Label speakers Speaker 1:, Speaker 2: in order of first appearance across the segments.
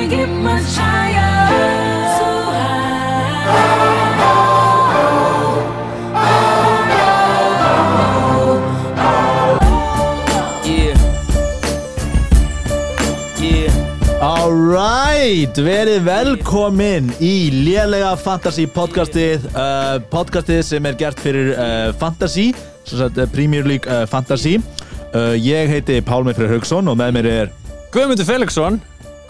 Speaker 1: much higher, so high.
Speaker 2: Yeah Yeah
Speaker 3: Alright, verið velkomin í lélega Fantasí podcastið uh, Podcastið sem er gert fyrir uh, Fantasí sem sagt, uh, Premier League uh, Fantasí uh, Ég heiti Pálmi Freyr Haugsson og með mér er
Speaker 2: Guðmundur Felixson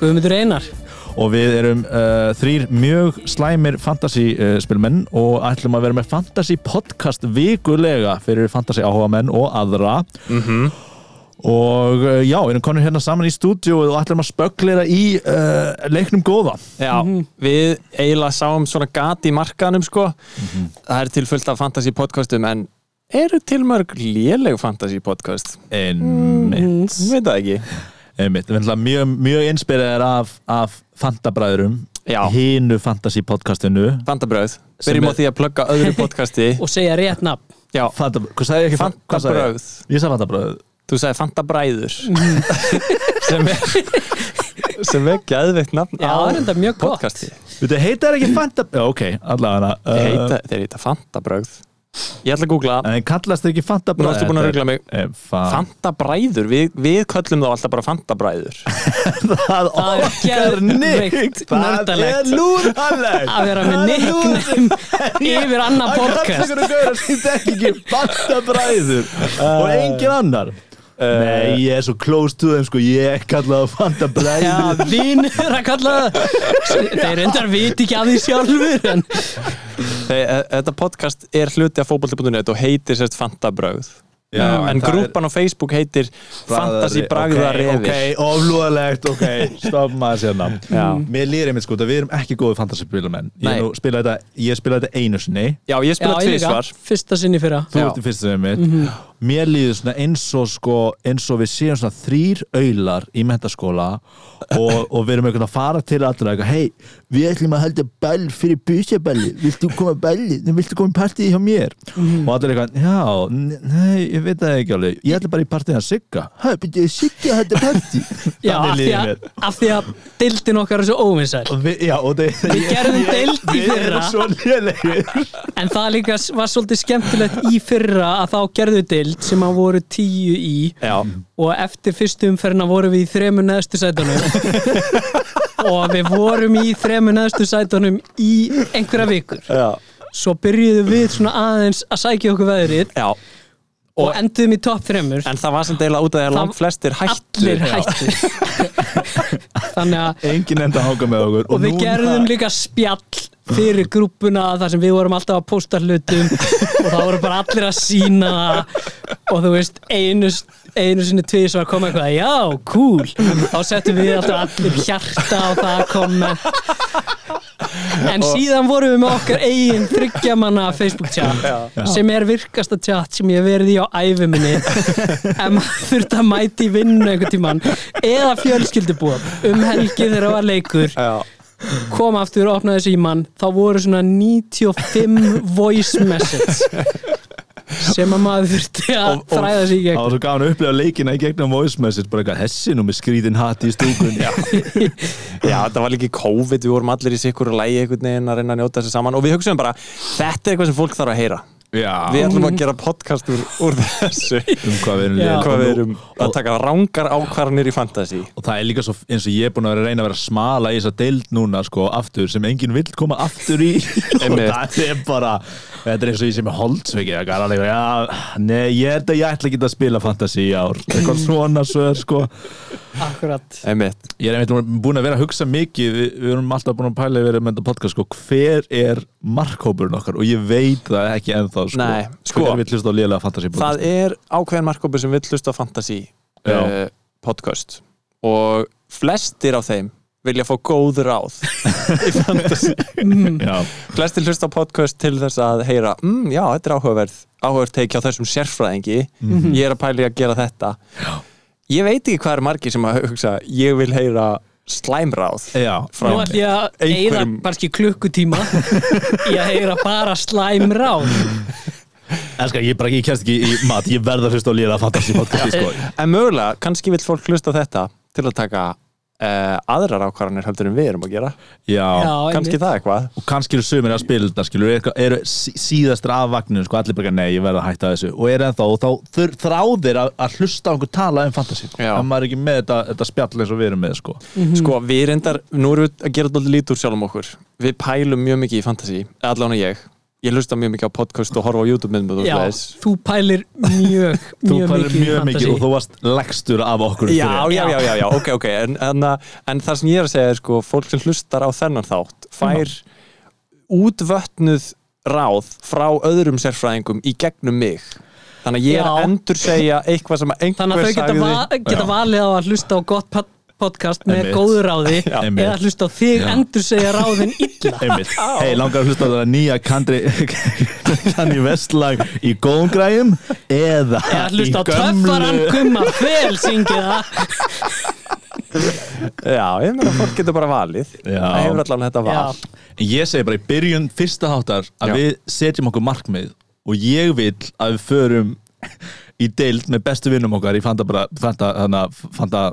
Speaker 4: Guðmundur Einar
Speaker 3: og við erum uh, þrýr mjög slæmir Fantasí uh, spilmenn og ætlum að vera með Fantasí podcast vikulega fyrir Fantasí áhugamenn og aðra og uh, já, erum konur hérna saman í stúdíu og ætlum að spöggleira í uh, leiknum góða
Speaker 2: Já,
Speaker 4: Mhm.
Speaker 2: við eiginlega sáum svona gat í markanum sko
Speaker 3: Mhm.
Speaker 2: Það er til fullt af fantasy podcastum en eru til mörg léleg fantasy podcast?
Speaker 4: Mm.
Speaker 3: Einmitt
Speaker 2: Ég veit það ekki
Speaker 3: Einmitt, við ætlum mjög, mjög inspiraðir af, af Fantabræðurum
Speaker 2: Já.
Speaker 3: hinu fantasy podcastinu
Speaker 2: Fantabröð,
Speaker 3: Sem
Speaker 2: byrjum
Speaker 3: er-
Speaker 2: á því að plugga öðru podcasti
Speaker 4: og segja rétt nafn
Speaker 2: Já,
Speaker 3: Fanta, hvað sagði ég ekki? hvað sagði ég?
Speaker 2: Fantabræð
Speaker 3: Ég sagði Fantabræð
Speaker 2: Þú sagði Fantabræður
Speaker 3: Mhm.
Speaker 2: sem er sem er gæðveikt nafn
Speaker 4: Já,
Speaker 2: á
Speaker 4: það er enda mjög gott.
Speaker 2: podcasti.
Speaker 3: Þetta heitar ekki Fantabræð Já, ok, allavega
Speaker 2: Þeir
Speaker 3: hana
Speaker 2: heita, þeir heita Fantabröð Ég ætla að googla
Speaker 3: Uh, En kallast þeir ekki Fantabræð
Speaker 2: Nú ertu búin að rugla mig
Speaker 3: Fan...
Speaker 2: Fantabræður, við, við köllum þá alltaf bara Fantabræður
Speaker 3: Það
Speaker 4: Það er
Speaker 3: okkar nýtt
Speaker 4: geðveikt
Speaker 3: Það er
Speaker 4: nördalegt.
Speaker 3: lúralegt
Speaker 4: að vera með nickname yfir annan podcast
Speaker 3: Það kallar þetta ekki ekki Fantabræður Og engin annar Eh. Nei, ég er svo close to þeim sko Ég kallaði Fantabræður
Speaker 4: Já, vinur að kalla það Þeir endar viti ekki að því sjálfur en
Speaker 2: Þe- e- Þetta podcast er hluti af fótbolti.net og heitir sérst Fantabræð
Speaker 3: Já,
Speaker 2: En
Speaker 3: það
Speaker 2: grúpan á Facebook heitir Fantasy Bragða
Speaker 3: Ok,
Speaker 2: Refir
Speaker 3: ok, oflúðalegt, ok, stopp maður sérna Mér lýðir einmitt sko, að við erum ekki góði fantasyspilamenn Ég,
Speaker 2: Nei.
Speaker 3: nú spila þetta- ég spila þetta einu sinni
Speaker 2: Já, ég
Speaker 4: Já,
Speaker 2: spila
Speaker 4: ég líka,
Speaker 2: tvísvar
Speaker 4: fyrsta sinni fyrra
Speaker 3: Þú
Speaker 2: Já.
Speaker 3: ert í fyrsta sem mitt Mér líður svona eins og sko eins og við séum svona þrýr aular í mentaskóla og, og við erum einhvern að fara til allra eitthvað, hei, við ætlum að halda ball fyrir busjaballi, viltu koma að balli viltu koma í partíð hjá mér og allir eitthvað, já, n- nei, ég veit það ekki alveg, ég ætla bara í partíð að sigga hæ, byrjuðu sigga að halda partí
Speaker 4: Já, af
Speaker 3: Þannig
Speaker 4: því,
Speaker 3: líður
Speaker 4: að,
Speaker 3: mér
Speaker 4: af því að deildin okkar er svo óvinsæl
Speaker 3: Og Við, já, og þeir,
Speaker 4: Við gerðum deild í
Speaker 3: Við erum
Speaker 4: fyrra.
Speaker 3: svo lélegir
Speaker 4: En það líka s- var svolítið skemmtilegt í fyrra að þá gerðu deild sem að voru tíu í
Speaker 2: Já,
Speaker 4: og eftir fyrstu umferðina vorum við í þremur neðstu sætunum og við vorum í þremur neðstu sætunum í einhverja vikur
Speaker 2: já,
Speaker 4: svo byrjuðum við svona aðeins að sækja okkur veðrið
Speaker 2: já
Speaker 4: og enduðum í topp þremur
Speaker 2: En það var sem deila út af því að
Speaker 4: Það-
Speaker 2: langt flestir hættu
Speaker 4: allir hættu þannig að
Speaker 3: Engin enda að hanga með okkur
Speaker 4: og við
Speaker 3: núna-
Speaker 4: gerðum líka spjall fyrir grúpuna þar sem við vorum alltaf að posta hlutum og það voru bara allir að sína og þú veist einu, einu sinni tvið svo að koma eitthvað já, cool, þá settum við alltaf allir hjarta á það að koma en síðan vorum við með okkar eigin þryggjamanna Facebook chat sem er virkasta chat sem ég hef verið í á æfi minni ef maður þurft að mæti vinnu einhvern tíman eða fjölskyldubúð um helgi þegar það var leikur
Speaker 2: Já,
Speaker 4: kom aftur og opnaði síman þá voru svona 95 voice message sem að maður þurfti að
Speaker 3: Og- og-
Speaker 4: þræða sig í
Speaker 3: Það
Speaker 4: gegn
Speaker 3: var svo gaman að upplega leikina í gegnum voice message bara eitthvað hessi nú með skrýðin hatt í stúkun Já,
Speaker 2: já, þetta var líka í COVID, við vorum allir í sikkur og lægi einhvern veginn að reyna að njóta þessu saman og við hugsaum bara, þetta er eitthvað sem fólk þarf að heyra Við
Speaker 3: já.
Speaker 2: ætlum að gera podcast úr, úr þessu
Speaker 3: um hvað við erum
Speaker 4: Já.
Speaker 3: liðin.
Speaker 2: hvað við
Speaker 3: Og nú-
Speaker 2: erum að taka rángar ákvarðanir í fantasy
Speaker 3: Og það er líka svo eins og ég er búin að vera að reyna að vera að smala í þessa deild núna sko aftur sem enginn vill koma aftur í og
Speaker 2: Einmitt.
Speaker 3: það er bara þetta er eins og ég sem er holdsvikið það er alveg, já, nei, ég held að ég ætla ekki að spila fantasy í ár eitthvað svona svo sko
Speaker 4: Akkurat
Speaker 2: einmitt,
Speaker 3: Ég er einmitt búin að vera að hugsa mikið við, við erum alltaf búin að pæla við erum með þetta podcast sko, hver er markhópurinn okkar og ég veit það ekki ennþá sko,
Speaker 2: Nei, sko.
Speaker 3: hver vil hlusta á lélega fantasy
Speaker 2: það er ákveðin markkópi sem vill hlusta á fantasy
Speaker 3: Já.
Speaker 2: uh, podcast og flestir á þeim vilja fá góð ráð í fantasy
Speaker 3: Já,
Speaker 2: flestir hlusta á podcast til þess að heyra mm, já, þetta er áhugaverð, áhugaverð teik hjá þessum sérfræðingi,
Speaker 3: Mhm.
Speaker 2: ég er að pæli að gera þetta já. ég veit ekki hvað er margi sem að hugsa, ég vil heyra slæmráð
Speaker 3: já,
Speaker 2: frá
Speaker 4: Nú ætlum ég að eigða
Speaker 2: Einhverjum-
Speaker 4: kannski klukkutíma í að heyra bara slæm ráð
Speaker 3: en sko ég bara ég kemst ekki í mat, ég verð að hlusta á lélega fantasy podcast sko.
Speaker 2: En mögulega, kannski vill fólk hlusta á þetta til að taka uh, aðrar ákvarðanir heldur en við erum að gera
Speaker 3: já,
Speaker 4: Já,
Speaker 2: kannski
Speaker 4: einmitt.
Speaker 2: það eitthvað
Speaker 3: og kannski eru sömur að spila þetta skilur, eru, eru sí- síðastir af vagninu sko, allir bara, nei, ég verð að hætta þessu og eru ennþá, og þá þur, þráðir að, að hlusta á einhver tala um fantasy
Speaker 2: Já.
Speaker 3: en maður er ekki með þetta, þetta spjall eins og við erum með sko.
Speaker 2: Sko, við reyndar, nú erum við að gera dálítið lítur sjálfum okkur Við pælum mjög mikið í fantasy, allan og ég Ég hlusta mjög mikið á podcast og horfa á YouTube myndum og
Speaker 4: Já,
Speaker 2: svoleiðis.
Speaker 4: þú pælir mjög,
Speaker 3: þú
Speaker 4: mjög
Speaker 3: pælir
Speaker 4: mikið í
Speaker 3: mjög mikið
Speaker 4: fantasy.
Speaker 3: og þú varst legstur af okkur um
Speaker 2: já,
Speaker 3: fyrir.
Speaker 2: já, já, já, já, ok, ok en, en, að- en það sem ég er að segja er sko Fólk sem hlustar á þennan þátt fær Mhm. útvötnuð ráð frá öðrum sérfræðingum í gegnum mig Þannig að ég er
Speaker 4: Já.
Speaker 2: að endur segja eitthvað sem að
Speaker 4: Þannig
Speaker 2: einhver
Speaker 4: að þau geta,
Speaker 2: sagði
Speaker 4: va geta
Speaker 3: Já.
Speaker 4: valið á að hlusta á gott pod- podcast með
Speaker 3: Einmitt.
Speaker 4: góðu ráði
Speaker 3: Já.
Speaker 4: eða
Speaker 3: Einmitt.
Speaker 4: að hlusta á þig
Speaker 3: Já.
Speaker 4: endur segja ráðin illa
Speaker 3: Einmitt, hei, langar að hlusta á þetta nýja kandri kanni vestlag í góðum græjum eða
Speaker 4: eða að hlusta á
Speaker 3: í gömlu
Speaker 4: töffaran gumma fel syngið það
Speaker 2: Já, ég meina að fólk getur bara valið
Speaker 3: Já.
Speaker 2: Það hefur allan þetta val
Speaker 4: Já.
Speaker 3: Ég segi bara í byrjun fyrsta þáttar að
Speaker 2: Já.
Speaker 3: við setjum okkur markmið og ég vil að við förum í deild með bestu vinnum okkar í fanta, bara, fanta, hana, fanta,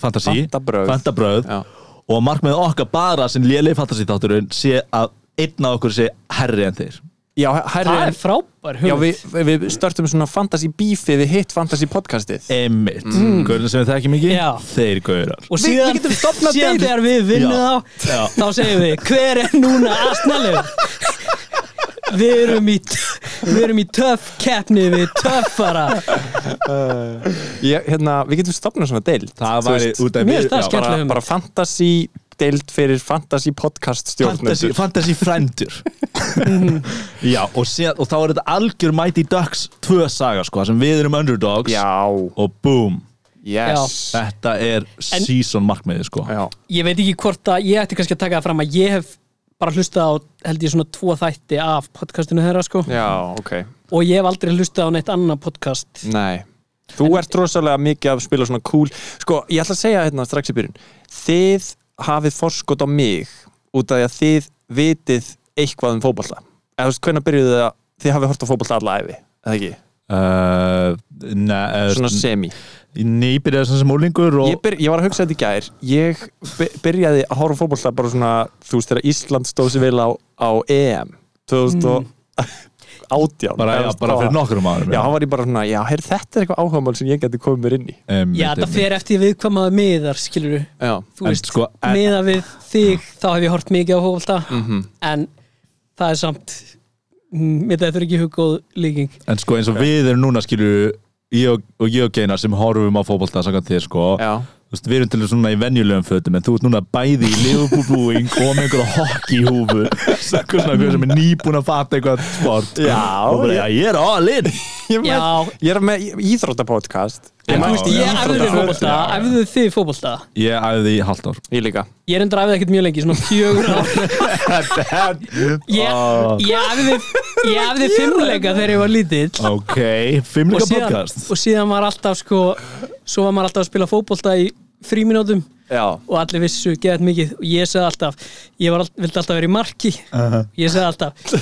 Speaker 3: fantasi
Speaker 2: Fantabrögð.
Speaker 3: fantabröð
Speaker 2: Já.
Speaker 3: og markmið okkar bara sem lélega fantasi þátturinn sé að einn af okkur sé herri en þeir
Speaker 2: Já, hærri
Speaker 4: það
Speaker 2: en
Speaker 4: er frábær
Speaker 2: Já,
Speaker 4: hugmynd
Speaker 2: við, við störtum svona fantasy bífi við hitt fantasy podcastið
Speaker 3: Emmitt, mm. sem við þekkjum ekki
Speaker 4: Já.
Speaker 3: þeir gaurar
Speaker 4: og
Speaker 2: Við-
Speaker 4: síðan,
Speaker 2: við getum stofnað
Speaker 4: síðan
Speaker 2: deild.
Speaker 4: þegar við vinnum
Speaker 3: Já.
Speaker 4: þá þá segjum við hver er núna asnalegur við erum í t- við erum í töff keppni við töffara
Speaker 2: ég, hérna, Við getum stopnað svona deild
Speaker 3: Það
Speaker 2: þú
Speaker 3: væri
Speaker 2: veist.
Speaker 3: út af
Speaker 4: Mér finnst það
Speaker 3: já,
Speaker 4: skemmt.
Speaker 2: bara,
Speaker 4: Skemmtileg
Speaker 2: bara fantasy deild fyrir fantasy podcast
Speaker 3: fantasy,
Speaker 2: stjórnendur
Speaker 3: fantasy frændur Já, og, síðan, og þá er þetta algjör Mighty Ducks 2 saga sko, þar sem við erum underdogs
Speaker 2: Já,
Speaker 3: og boom,
Speaker 2: yes Já,
Speaker 3: þetta er season markmiði sko
Speaker 4: ég veit ekki hvort að ég ætti kannski að taka það fram að ég hef bara hlustað á held ég svona tvo þætti af podcastinu þeirra sko
Speaker 2: Já ok,
Speaker 4: og ég hef aldrei hlustað á neitt annað podcast
Speaker 2: nei Þú ert rosalega mikið að spila svona cool Sko, ég ætla að segja hérna strax í byrjun Þið hafið forskot á mig út af því að þið vitið eitthvað um fótballa Eða þú veist, hvenær byrjuðu þið að þið hafið hort á fótballa alla æfi, eða ekki?
Speaker 3: uh, ne,
Speaker 2: Svona semi
Speaker 3: Nýbyrjaði sem sem úlingur og
Speaker 2: ég, byr, ég var að hugsa þetta í gær ég by- byrjaði að horfa á fótbolta bara svona, þú veist, þegar Ísland stóð sér vel á, á EM 2018
Speaker 3: bara, já,
Speaker 2: Eða,
Speaker 3: bara
Speaker 2: þá-
Speaker 3: fyrir nokkrum árum
Speaker 2: sko- Já, hann var ég bara svona, já, her, þetta er eitthvað áhugamál sem ég geti komið mér inn í
Speaker 3: Einmitt,
Speaker 4: já þetta
Speaker 3: einmitt.
Speaker 4: fer eftir við hvað maður miðar skilur
Speaker 2: Já,
Speaker 4: þú
Speaker 3: En
Speaker 4: veist,
Speaker 3: sko, en- Mhm.
Speaker 4: miða við þig þá hef ég hort mikið á fólta en það er samt mm, mér þetta er ekki huggóð líking
Speaker 3: En sko eins og við erum núna skilju ég og, og ég og Geinar sem horfum á fótbolta samkvæmt þér sko
Speaker 2: Já.
Speaker 3: Þú veist, við erum til dæmis svona í venjulegum fötum en þú ert núna bæði í liðbúbúing og með einhverja hockeyhúfu Sakkur svona einhver sem er nýbúin að fatta eitthvað sport
Speaker 2: Já,
Speaker 3: og bara, já, ég er all in
Speaker 2: ég, er með-
Speaker 4: Já.
Speaker 2: ég er með í- íþróttapodcast
Speaker 3: Já,
Speaker 2: Ég
Speaker 4: þú
Speaker 2: mætti
Speaker 4: veist,
Speaker 2: í
Speaker 4: ég æfði
Speaker 2: íþróttapodcast
Speaker 4: fólta, æfði þig fólta
Speaker 3: Ég æði í halvt ár
Speaker 2: Ég líka
Speaker 4: ég er endur æfði ekkert mjög lengi, svona fjögur ár ég,
Speaker 3: Oh.
Speaker 4: ég æfði ég æfði fimmleika þegar ég var lítill
Speaker 3: Ok,
Speaker 4: og
Speaker 3: fimmleika
Speaker 4: síðan,
Speaker 3: podcast
Speaker 4: og síðan var alltaf sko svo var maður alltaf að spila fótbolta í fríminútum
Speaker 2: Já,
Speaker 4: og allir vissu geðat mikið og ég segði alltaf, ég var, all- vildi alltaf vera í marki ég segði alltaf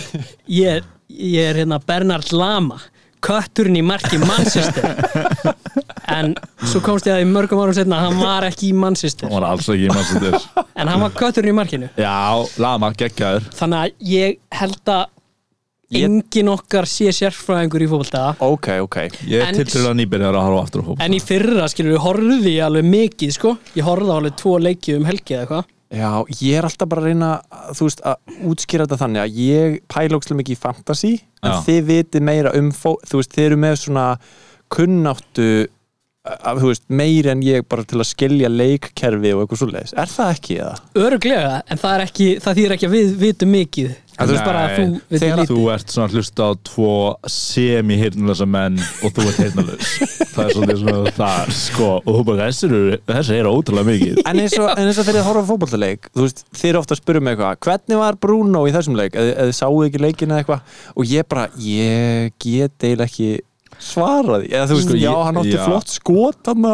Speaker 4: ég er, ég er hérna Bernard Lama kötturinn í marki Manchester en svo komst ég að í mörgum árum setna að hann var ekki í Manchester
Speaker 3: Það var alls ekki í mannsum þér
Speaker 4: en hann var kötturinn í markinu
Speaker 3: Já, lama, geggjaður
Speaker 4: þannig að ég held að
Speaker 2: Ég-
Speaker 4: engin okkar sé sérfræðingur í fótbolta
Speaker 2: ok, ok
Speaker 3: Ég
Speaker 4: En-
Speaker 3: er til til að nýbyrjaður að horfa aftur á fótbolta
Speaker 4: en í fyrra skilur við horfði ég alveg mikið sko, ég horfði á alveg tvo leiki um helgi eða eitthvað
Speaker 2: Já, ég er alltaf bara að reyna að, þú veist, að útskýra þetta þannig að ég pælókslega mikið í fantasy en
Speaker 3: Já.
Speaker 2: þið vitið meira um fó, þú veist, þið eru með svona kunnáttu af, þú veist, meira en ég bara til að skilja leikkerfi og eitthvað svoleiðis er það ekki eða?
Speaker 4: Öruglega, en það, er ekki, það þýr ekki að við vitum mikið Það
Speaker 3: Nei,
Speaker 4: er bara að þú vitum
Speaker 3: þegar
Speaker 4: lítið
Speaker 3: þú ert svona að hlusta á tvo semi-heyrnulösa menn og þú ert heyrnulös það er svolítið svona það sko, og þú bara þessir eru þessir eru ótrúlega mikið
Speaker 2: En eins og, en eins og þegar þið horfa fótballtaleik þú veist, þið eru ofta að spyrja mig eitthvað hvernig var Bruno í þessum leik, eða eða þið sáu ekki leikin eða eitthvað, og ég bara ég get eiginlega ekki svaraði eða þú veist,
Speaker 3: Sko, ég-
Speaker 2: já, hann átti
Speaker 3: já.
Speaker 2: flott skot hann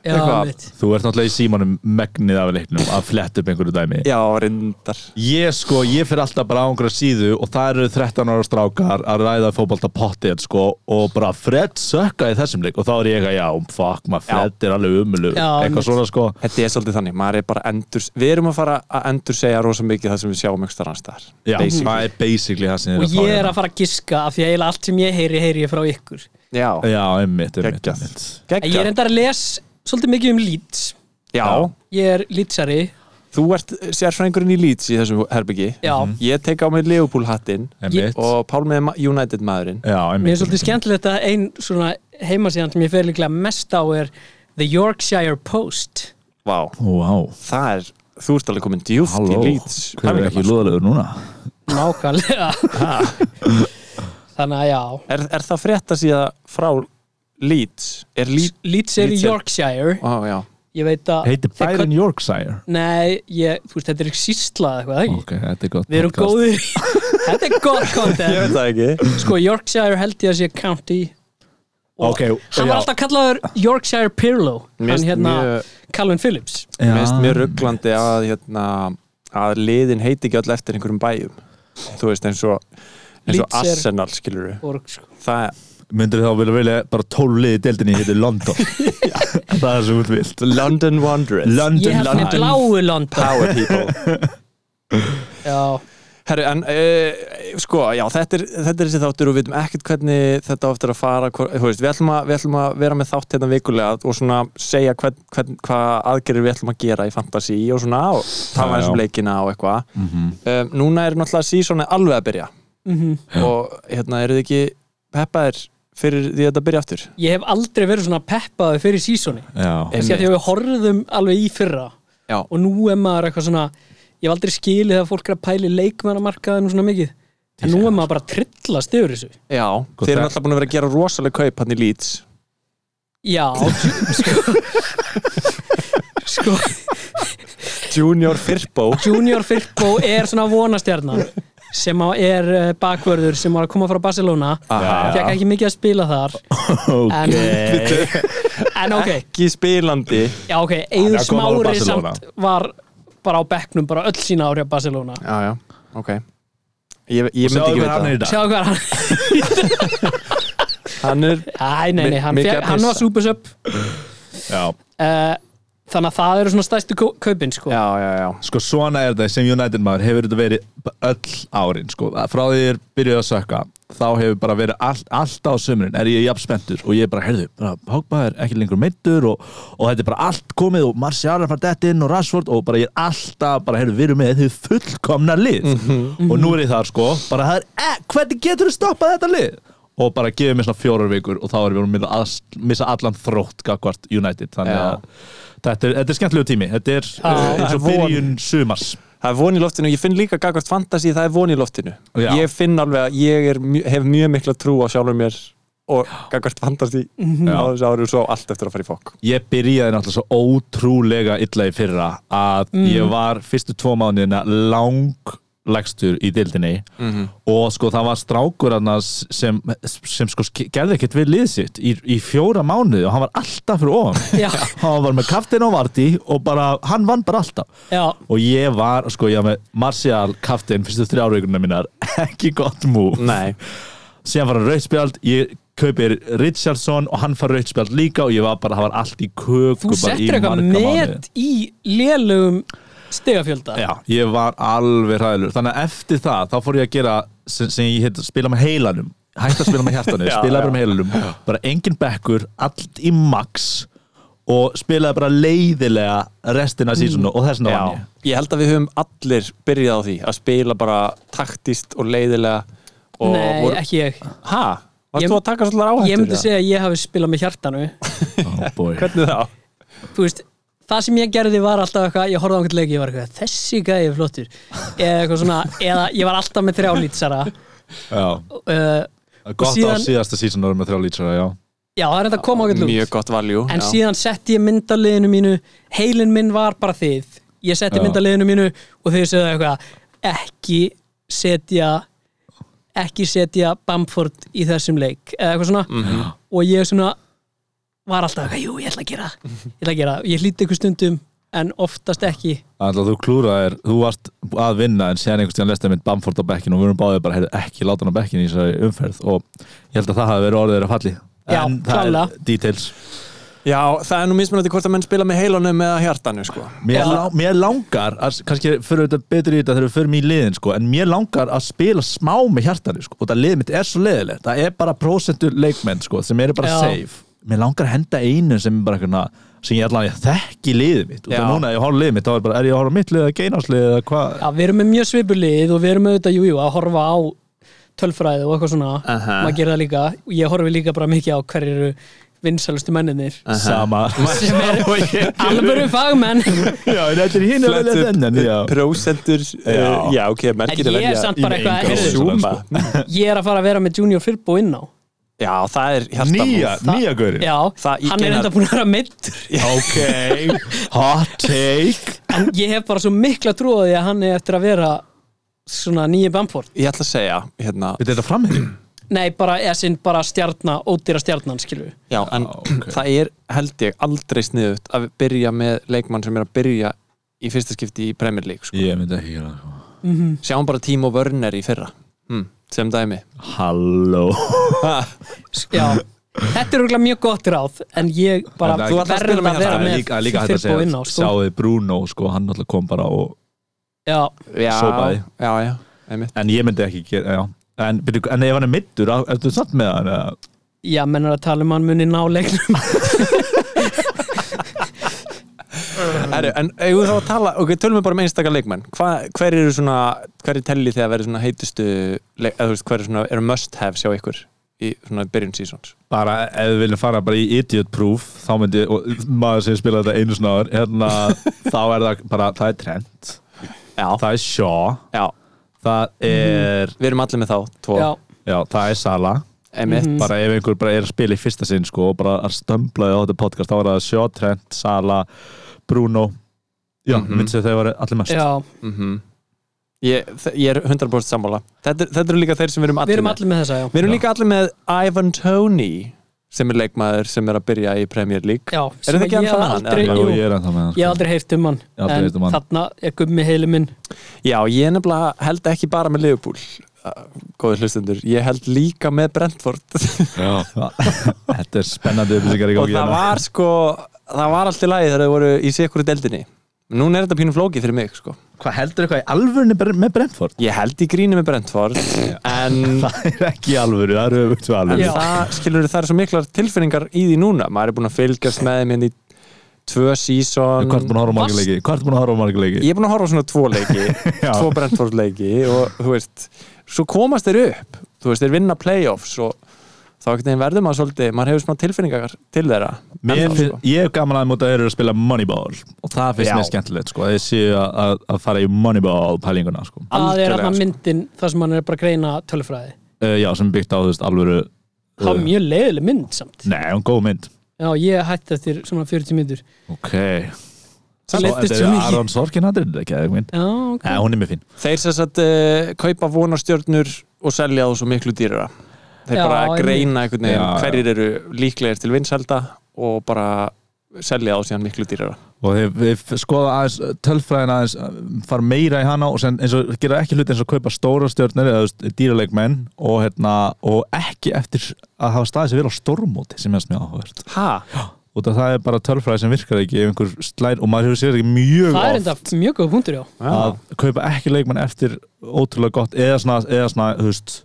Speaker 4: Já,
Speaker 2: Eitthvað.
Speaker 4: mitt
Speaker 3: Þú ert náttúrulega í símanum megnið af leiknum að fletta upp einhverju dæmi
Speaker 2: Já, reyndar
Speaker 3: Ég sko, ég fyrir alltaf bara á einhverja síðu og það eru 13 ára strákar að ræða fótbolta pottið sko og bara Fred sökka í þessum leik og þá er ég að já, fuck maður, Fred er alveg umlu
Speaker 4: Já,
Speaker 3: eitthvað
Speaker 4: einmitt.
Speaker 3: svona sko
Speaker 2: Þetta er svolítið þannig, maður er bara endur Við erum að fara að endur segja rosa mikið það sem við sjáum ekstra annars staðar
Speaker 3: Já,
Speaker 2: Basically.
Speaker 3: það er basically það sem
Speaker 4: Og ég er að fara að giska af því að eiginlega allt sem ég heyri, heyri ég frá ykkur
Speaker 2: Já,
Speaker 3: Já, einmitt, einmitt,
Speaker 2: Geggjað.
Speaker 3: einmitt.
Speaker 4: En ég er
Speaker 2: geggja
Speaker 4: enda að les svolítið mikið um Leeds
Speaker 2: Já,
Speaker 4: Ég er Leedsari
Speaker 2: þú ert sérfræðingurinn í Leeds í þessu herbyggi
Speaker 4: Já,
Speaker 2: Ég tek á mig Leopold hattinn
Speaker 3: Einmitt.
Speaker 2: og Pálmi er Ma- United maðurinn
Speaker 3: Já,
Speaker 4: mér er
Speaker 3: einmitt
Speaker 4: svolítið skemmtilegt að ein svona heimasíðan sem ég fer líklega mest á er The Yorkshire Post
Speaker 2: Vá,
Speaker 3: Vá,
Speaker 2: það er, þú ert alveg komin djúft í
Speaker 3: halló,
Speaker 2: Leeds
Speaker 3: hver er ekki lúðalegur núna?
Speaker 4: Nákvæmlega Þannig að já
Speaker 2: er, er það frétta síðan frá Leeds? Er Leeds?
Speaker 4: Leeds er í
Speaker 2: Leeds er-
Speaker 4: Yorkshire
Speaker 2: Ó, já,
Speaker 4: Ég veit að
Speaker 3: Heitir
Speaker 4: þeir köll-
Speaker 3: Byron Yorkshire
Speaker 4: Nei, ég, þú veist, þetta er ekki sísla eða eitthvað, ekki?
Speaker 3: Ok, þetta er gott
Speaker 4: Við erum
Speaker 3: podcast.
Speaker 4: góðir í- Þetta er gott
Speaker 2: ég
Speaker 4: content
Speaker 2: veit það ekki
Speaker 4: Sko, Yorkshire held ég að sé county og
Speaker 3: Ok,
Speaker 4: Hann
Speaker 3: já.
Speaker 4: var alltaf kallaður Yorkshire Pirlo
Speaker 2: Mér
Speaker 4: Hann
Speaker 2: finnst
Speaker 4: hérna,
Speaker 2: mjög-
Speaker 4: Calvin Phillips
Speaker 2: Mér
Speaker 3: Já.
Speaker 2: finnst mjög rugglandi að hérna, að liðin heiti ekki öll eftir einhverjum bæjum þú veist eins og eins og
Speaker 4: Leeds er-
Speaker 2: Arsenal skilur
Speaker 4: og, sko,
Speaker 2: það
Speaker 3: myndir þá vilja velja bara tólf liði deildinni hittir London það er sem þú vilt
Speaker 2: London Wanderers
Speaker 4: Ég
Speaker 3: London
Speaker 4: hef með
Speaker 3: London
Speaker 4: bláu London
Speaker 2: Power People
Speaker 4: Já,
Speaker 2: Herru, en uh, sko, já, þetta er, þetta er þessi þáttur og við veitum ekkert hvernig þetta á eftir að fara hvor, þú veist, við, ætlum að, við ætlum að vera með þátt hérna vikulega og svona segja hvern, hvern, hvað aðgerðir við ætlum að gera í fantasy og svona, og tala
Speaker 3: Já,
Speaker 2: eins um
Speaker 3: já. Mhm.
Speaker 2: leikina og eitthvað um, Núna er náttúrulega sísónu alveg að byrja -hmm. og hérna, eru þið ekki peppaðir fyrir því að þetta byrja aftur?
Speaker 4: ég hef aldrei verið svona peppaði fyrir sísoni
Speaker 3: já,
Speaker 4: Þessi að því að við horfðum alveg í fyrra
Speaker 2: Já,
Speaker 4: og nú er maður eitthvað svona ég hef aldrei skilið að fólk er að pæli leikmannamarkaðinu svona mikið en nú er maður bara að trillast yfir þessu
Speaker 2: já
Speaker 3: Gott
Speaker 2: þeir eru
Speaker 3: það-
Speaker 2: náttúrulega búin að vera að gera rosaleg kaup hann í Leeds
Speaker 4: Já Sko, sko
Speaker 2: Junior Firpo
Speaker 4: Junior Firpo er svona vonastjarnan sem á, er eh, bakvörður sem var að koma frá Barcelona
Speaker 2: Aha.
Speaker 4: fekk ekki mikið að spila þar en, en ok,
Speaker 2: ekki spilandi
Speaker 4: já ok
Speaker 3: Hann er
Speaker 4: Eður
Speaker 3: að koma frá
Speaker 4: Smári
Speaker 3: Barcelona.
Speaker 4: samt var bara á bekknum, bara öll sína ári á Barcelona
Speaker 2: Já, já, ok Ég, ég
Speaker 3: sjáum
Speaker 2: myndi ekki
Speaker 3: við hann er
Speaker 2: vita
Speaker 3: í dag
Speaker 4: Sjáðu hvað hann
Speaker 2: það Hann er,
Speaker 4: Æ, nei, nei, hann,
Speaker 2: Mikið
Speaker 4: fekk,
Speaker 2: að
Speaker 4: hann var
Speaker 2: pissa.
Speaker 4: súpusöp
Speaker 3: já.
Speaker 4: uh, Þannig að það eru svona stæstu kau- kaupin sko.
Speaker 2: já, já, já
Speaker 3: sko svona er þetta sem United maður hefur þetta verið b- öll árin sko. frá því þeir byrjuðu að sökka þá hefur bara verið all, alltaf á sömurinn er ég jafn spenntur og ég er bara heyrðu bara, Pogba er ekki lengur meittur og, og þetta er bara allt komið og Marcial er bara dett inn og Rashford og bara ég er alltaf bara heyrðu við erum með þau fullkomna lið og nú er ég þar sko bara það er e, hvernig getur þú stoppað þetta lið og bara gefið mér svona fjórar vikur og þá erum við að missa allan þrótt gagvart United þannig
Speaker 2: Já.
Speaker 3: að Þetta er, þetta er skemmtilegu tími, þetta er
Speaker 4: Já.
Speaker 3: uh, eins og
Speaker 2: Það er von.
Speaker 3: byrjun sumars
Speaker 2: Það er von í loftinu, ég finn líka gagvart fantasi það er von í loftinu
Speaker 3: Já.
Speaker 2: Ég finn alveg að ég er, mjö- hef mjög mikla trú á sjálfur mér og gagvart fantasi
Speaker 4: Mhm.
Speaker 2: á þessu ári og svo á allt eftir að fara í fokk
Speaker 3: Ég byrjaði náttúrulega svo ótrúlega illa í fyrra að
Speaker 2: Mm.
Speaker 3: ég var fyrstu tvo mánuðina langlegstur í dildinni og sko það var strákur annars sem, sem sko ske- gerði ekkert við lið sitt í, í fjóra mánuði og hann var alltaf fyrir ofan
Speaker 4: Já.
Speaker 3: hann var með kaftin og varti og bara, hann vann bara alltaf
Speaker 4: Já.
Speaker 3: og ég var, sko ég var með Marcial kaftin fyrstu þrjárvíkurna mínar ekki gott mú
Speaker 2: Nei,
Speaker 3: síðan var hann rauðspjald ég kaupir Richardson og hann far rauðspjald líka og ég var bara, það var allt í köku
Speaker 4: Þú
Speaker 3: bara í
Speaker 4: settir eitthvað
Speaker 3: marga mánuði.
Speaker 4: met í lélugum stegafjölda
Speaker 3: Já, ég var alveg hræðilur þannig að eftir það, þá fór ég að gera sem, sem ég heit, spila með heilanum hætt að spila með hjartanu,
Speaker 2: Já,
Speaker 3: spilaði bara
Speaker 2: já.
Speaker 3: með heilanum bara engin bekkur, allt í max og spilaði bara leiðilega restina sísonu og þess vegna vann
Speaker 4: Mm.
Speaker 2: já
Speaker 3: ég
Speaker 2: Ég held að við höfum allir byrjað á því að spila bara taktist og leiðilega og
Speaker 4: Nei, ekki ég
Speaker 2: Ha? Varst
Speaker 4: Ég-
Speaker 2: þú að taka svolítið áhættur?
Speaker 4: Ég myndi
Speaker 2: eða?
Speaker 4: segja að ég hafi spilað með hjartanu
Speaker 3: oh boy.
Speaker 2: Hvernig þá?
Speaker 4: Þú veist, það sem ég gerði var alltaf eitthvað Ég horfði á einhvern leik, ég var eitthvað Þessi gæði er flottur Eða eitthvað svona, eða ég var alltaf með þrjá lýtsara uh,
Speaker 3: Já, gott á
Speaker 4: síðan-
Speaker 3: síðasta sísonu með þrjá lýtsara, já
Speaker 4: Já, það er þetta að koma ákveðt lút
Speaker 2: Mjög gott valjú
Speaker 4: En síðan setti ég mynd á liðinu mínu Heilin minn var bara þið Ég setti
Speaker 3: Já.
Speaker 4: mynd á liðinu mínu og þau segðu eitthvað Ekki setja
Speaker 2: Mhm.
Speaker 4: ekki setja Bamford í þessum leik eða eitthvað svona og ég svona var alltaf, eitthvað, jú, ég ætla að gera það, ég ætla að gera, það." ég hlýtti ykkur stundum en oftast ekki
Speaker 3: Þannig að þú klúraðir, þú varst að vinna en séðan einhvers tíðan lestaði mynd Bamford á bekkinu og við vorum báðið bara, heyrðu, ekki láta hann á bekkinu í þessari umferð og ég held að það hafi verið orðið þeirra falli
Speaker 4: Já,
Speaker 3: en það
Speaker 4: klárlega.
Speaker 3: er details
Speaker 2: Já, það er nú mismunandi hvort að menn spila með heilanum eða hjartanu sko.
Speaker 3: Mér, lá, mér langar, að, kannski fyrir þetta betur í þetta þegar við förum í liðin sko, en mér langar að spila smá með hjartanu sko, og það liðið mitt er svo leiðilegt það er bara prósentur leikmenn sko, sem eru bara
Speaker 4: Já.
Speaker 3: safe mér langar að henda einu sem er bara einhverna, sem ég allan ég þekki liðið mitt og
Speaker 2: Já.
Speaker 3: það núna ef ég horf liðið mitt, þá er bara, er ég að horfa á mitt liðið eða geinaslið eða hvað
Speaker 4: Já, við erum með mjög svipulið og við erum auðvitað, jú, jú, að horfa á tölfræði og eitthvað svona
Speaker 2: Aha.
Speaker 4: maður gerir það líka, ég horfi líka bara mikið á hverju eru vinsalustu menninir
Speaker 3: sama
Speaker 4: sem er alvöru fagmenn en
Speaker 3: já, en þetta er hinn að velja þennan já.
Speaker 2: Prósendur
Speaker 3: Já.
Speaker 2: eh,
Speaker 3: sko.
Speaker 2: Já, ok, merkir
Speaker 4: ég er samt bara
Speaker 3: í
Speaker 4: eitthvað
Speaker 3: engu.
Speaker 4: heyrðu,
Speaker 2: Zuma
Speaker 4: ég er að fara að vera með Junior Firbo inn á
Speaker 2: Já, það er hjartamóð
Speaker 3: nýja, nýja gaurinn
Speaker 4: Já,
Speaker 2: Það- ég
Speaker 4: hann er
Speaker 2: meina-
Speaker 4: enda búin að vera meittur
Speaker 3: ok, hot take
Speaker 4: en ég hef bara svo mikla trúið að hann er eftir að vera svona nýju Bamford
Speaker 2: Ég ætla að segja, hérna
Speaker 3: Veit þetta framhengið?
Speaker 4: nei, bara, eða sinn bara stjarnar, ódýra stjarnan skilur við
Speaker 2: Já, en
Speaker 3: ok.
Speaker 2: það er held ég aldrei sniðut að byrja með leikmann sem er að byrja í fyrsta skipti í Premier League sko.
Speaker 3: Ég myndi ekki gera það
Speaker 2: Sjáum bara Timo Werner í fyrra hm,
Speaker 3: Hmm.
Speaker 2: sem dæmi
Speaker 3: Halló
Speaker 2: ha,
Speaker 3: Sko.
Speaker 4: Já, þetta er örugglega mjög gott ráð en ég bara
Speaker 3: En það-
Speaker 4: verð
Speaker 2: Þú ætlar að spila með
Speaker 4: að vera
Speaker 3: hérna,
Speaker 2: hjarta.
Speaker 3: Það er
Speaker 4: með
Speaker 3: líka, líka hægt að
Speaker 4: Firpo inn á
Speaker 3: segja
Speaker 4: sko.
Speaker 3: Sjáði Bruno, sko, hann alltaf kom bara og,
Speaker 4: Já,
Speaker 2: Já,
Speaker 3: Sópaði.
Speaker 2: já, já einmitt.
Speaker 3: En ég myndi ekki gera, já En, byrju, en ef hann er middur, á- ertu samt með hann? eða?
Speaker 4: já, mennur að tala um hann muni ná leiknum
Speaker 2: Heru, En eigum við þá að tala, ok, tölum við bara með einstakar leikmenn Hva, Hver eru svona, hver er telli þegar verður svona heitustu leik, eða þú veist, hver er svona, eru must have sjá ykkur í svona byrjun seasons
Speaker 3: Bara, ef við viljum fara bara í idiot proof Þá myndi, og maður sem spilaði þetta einu snáður Hérna, þá er það bara Það er Trent,
Speaker 2: Já,
Speaker 3: það er Shaw
Speaker 2: já,
Speaker 3: Það er,
Speaker 2: við erum allir með þá, tvo
Speaker 4: Já,
Speaker 3: já, það er Sala
Speaker 2: Einmitt,
Speaker 3: Bara ef einhver bara er að spila í fyrsta sinn, sko Og bara að stömblaði á þetta podcast Þá er það Shaw, Trent, Sala, Bruno Já, mm
Speaker 2: Mhm.
Speaker 3: -hmm. myndi þau var allir mest
Speaker 4: já,
Speaker 2: Mhm. ég, þe- ég er 100% sammála þetta, er- þetta eru líka þeir sem við erum
Speaker 4: við
Speaker 2: allir
Speaker 4: erum
Speaker 2: með
Speaker 4: allir með þessa, já
Speaker 2: Við erum
Speaker 3: Já.
Speaker 2: líka allir með Ivan Toney sem er leikmaður sem er að byrja í Premier League
Speaker 4: Já,
Speaker 2: Eru þið
Speaker 4: sem
Speaker 2: ekki
Speaker 4: ég
Speaker 2: ennþá með
Speaker 4: hef
Speaker 2: hann,
Speaker 4: aldrei-
Speaker 2: eða?
Speaker 3: Jú,
Speaker 4: jú,
Speaker 3: ég er ennþá með hann sko.
Speaker 4: Ég hef aldrei heyrt um hann
Speaker 3: Ég hef aldrei heyrt um
Speaker 4: En
Speaker 3: hann.
Speaker 4: þarna er gummi heilu minn
Speaker 2: Já, ég er nefnilega held ekki bara með Liverpool uh, góðir hlustendur, ég held líka með Brentford og
Speaker 3: Þetta er spennandi upplýsingar í gangi
Speaker 2: það
Speaker 3: hérna.
Speaker 2: var sko það var allt í lagi þegar þau voru í sikuru deldinni Núna er þetta pínum flókið fyrir mig sko.
Speaker 3: Hvað heldur eitthvað í alvörni með Brentford?
Speaker 2: Ég held í grínu með Brentford en,
Speaker 3: Það er ekki í alvöru, það eru auðvitað
Speaker 2: en
Speaker 3: alvöru
Speaker 4: Já.
Speaker 2: það skilur það er svo miklar tilfinningar í því núna maður er búin að fylgjast með þeim hérna í tvö
Speaker 3: En
Speaker 2: sísón
Speaker 3: Hvað ertu búin að horfa á marga leiki? Hvað ertu búin að horfa á marga leiki?
Speaker 2: ég er búin að horfa á svona tvo leiki tvo Brentford leiki og þú veist svo komast þeir upp, þú veist þeir vinna playoffs og þá ekkert einn verður maður svolítið maður hefur svona tilfinningar til þeirra
Speaker 3: Mér
Speaker 2: Ennþá,
Speaker 3: finn-
Speaker 2: sko.
Speaker 3: Ég hef gaman að móta að þeir eru að spila Moneyball og það finnst
Speaker 2: Já.
Speaker 3: mér skemmtilegt sko að þeir séu að- að að fara í Moneyball pælinguna sko
Speaker 4: Það er
Speaker 2: Algjörlega,
Speaker 4: hann
Speaker 2: sko.
Speaker 4: myndin þar sem hann er bara að greina tölfræði
Speaker 3: Uh, Já, sem er byggt á þú veist alvöru
Speaker 4: Það er mjög leiðileg mynd samt
Speaker 3: Nei, hún er góð mynd
Speaker 4: Já, ég hætti eftir svona 40 myndur
Speaker 3: Ok
Speaker 4: Það
Speaker 3: Svo-
Speaker 4: leittist svo
Speaker 3: Þetta er
Speaker 4: mikið
Speaker 3: Aron Sorkin aðrið, ekki að mynd
Speaker 4: Já, ok
Speaker 3: Nei, hún er mjög fín
Speaker 2: þeir sem sagt uh, kaupa vonarstjörnur og selja þú svo miklu dýrara þeir
Speaker 4: Já,
Speaker 2: bara
Speaker 4: einmitt.
Speaker 2: greina einhvern veginn
Speaker 3: Já, já.
Speaker 2: hverjir eru líklegir til vinselda og bara selja þú síðan miklu dýrara
Speaker 3: og þeir, þeir skoða aðeins uh, tölfræðin aðeins um, fara meira í hana og sen, eins og gera ekki hluti eins og kaupa stóra stjórnir eða þú veist, dýraleikmenn og, hérna, og ekki eftir að hafa staðið sér vel á stórmóti sem er mjög áhugavert
Speaker 2: ha?
Speaker 3: og það er bara tölfræði sem virkar ekki ef einhver slær og maður hefur sér ekki mjög
Speaker 4: Það er
Speaker 3: oft
Speaker 4: enda mjög góð punktur, já
Speaker 2: Já.
Speaker 3: að kaupa ekki leikmenn eftir ótrúlega gott eða svona, eða svona þú veist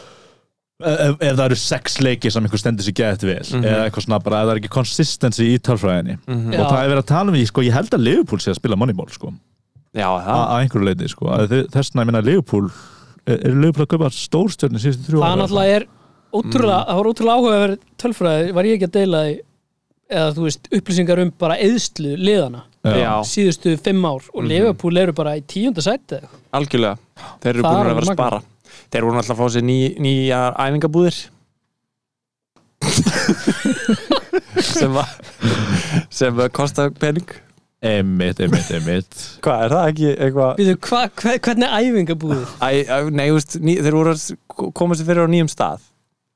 Speaker 3: ef, ef það eru sex leikir sem einhver stendur sér geðið vel
Speaker 4: Mhm.
Speaker 3: eða eitthvað svona bara ef það er ekki konsistensi í tölfræðinni
Speaker 2: Mhm.
Speaker 4: Já.
Speaker 3: og það er verið að tala um því sko, ég held að Liverpool sé að spila Moneyball sko
Speaker 2: já,
Speaker 3: að
Speaker 2: það
Speaker 3: að einhverju leiti sko. Að þi- þess vegna ég minna Leopold er Leopold að kaupa stórstjörni síðustu þrjú
Speaker 4: það náttúrulega er ótrúlega,
Speaker 2: Mm.
Speaker 4: það var ótrúlega áhuga að vera tölfræði, var ég ekki að deila því eða þú veist, upplýsingar um bara eðslu liðana,
Speaker 2: já, Mhm.
Speaker 4: síðustu fimm ár og Liverpool eru bara í tíunda sæti eða eitthvað.
Speaker 2: algjörlega, þeir eru
Speaker 4: Það
Speaker 2: búin
Speaker 4: er
Speaker 2: að vera að
Speaker 4: magnað.
Speaker 2: spara þeir voru alltaf að fá sér ný, nýjar æfingabúðir sem að sem að kosta pening
Speaker 3: Emmitt, emmitt, emmitt
Speaker 2: hvað, er það ekki eitthvað
Speaker 4: Býðu, hva, hva, hvernig er æfingabúðið?
Speaker 2: Æ, æ, nei, þú veist, ný, þeir voru að s- koma sér fyrir á nýjum stað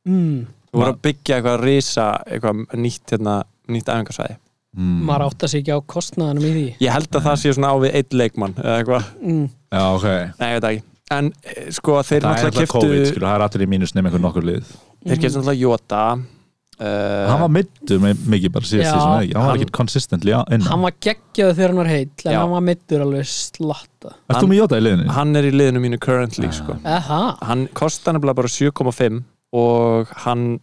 Speaker 4: Mm.
Speaker 2: Þú voru að byggja eitthvað risa, eitthvað nýtt, hérna, nýtt æfingarsvæði.
Speaker 3: Hmm.
Speaker 4: maður átt að sig ekki á kostnaðanum í því
Speaker 2: Ég held að það sé svona á við eitt leikmann eða eitthvað,
Speaker 4: mm.
Speaker 3: Já, ok
Speaker 2: nei, ég veit það ekki. En eh, sko,
Speaker 3: Það er
Speaker 2: þeir náttúrulega
Speaker 3: alltaf
Speaker 2: keftu,
Speaker 3: COVID, skilur, það er allir í mínus nefn einhver nokkur lið
Speaker 2: þeir keftu náttúrulega Jota.
Speaker 3: Hann
Speaker 2: Uh,
Speaker 3: var middur með mikið bara síðast
Speaker 4: Já.
Speaker 3: því sem ekki Hann var
Speaker 2: Hann-
Speaker 3: ekki consistently inn
Speaker 4: hann var geggjaðu þegar hann var heill en
Speaker 2: Já.
Speaker 4: hann var middur alveg slatta
Speaker 3: Erst þú með Jota í liðinu?
Speaker 2: hann er í liðinu mínu
Speaker 3: Ah.
Speaker 2: currently, sko.
Speaker 4: eha,
Speaker 2: Hann kostar nefnilega bara 7,5 og hann,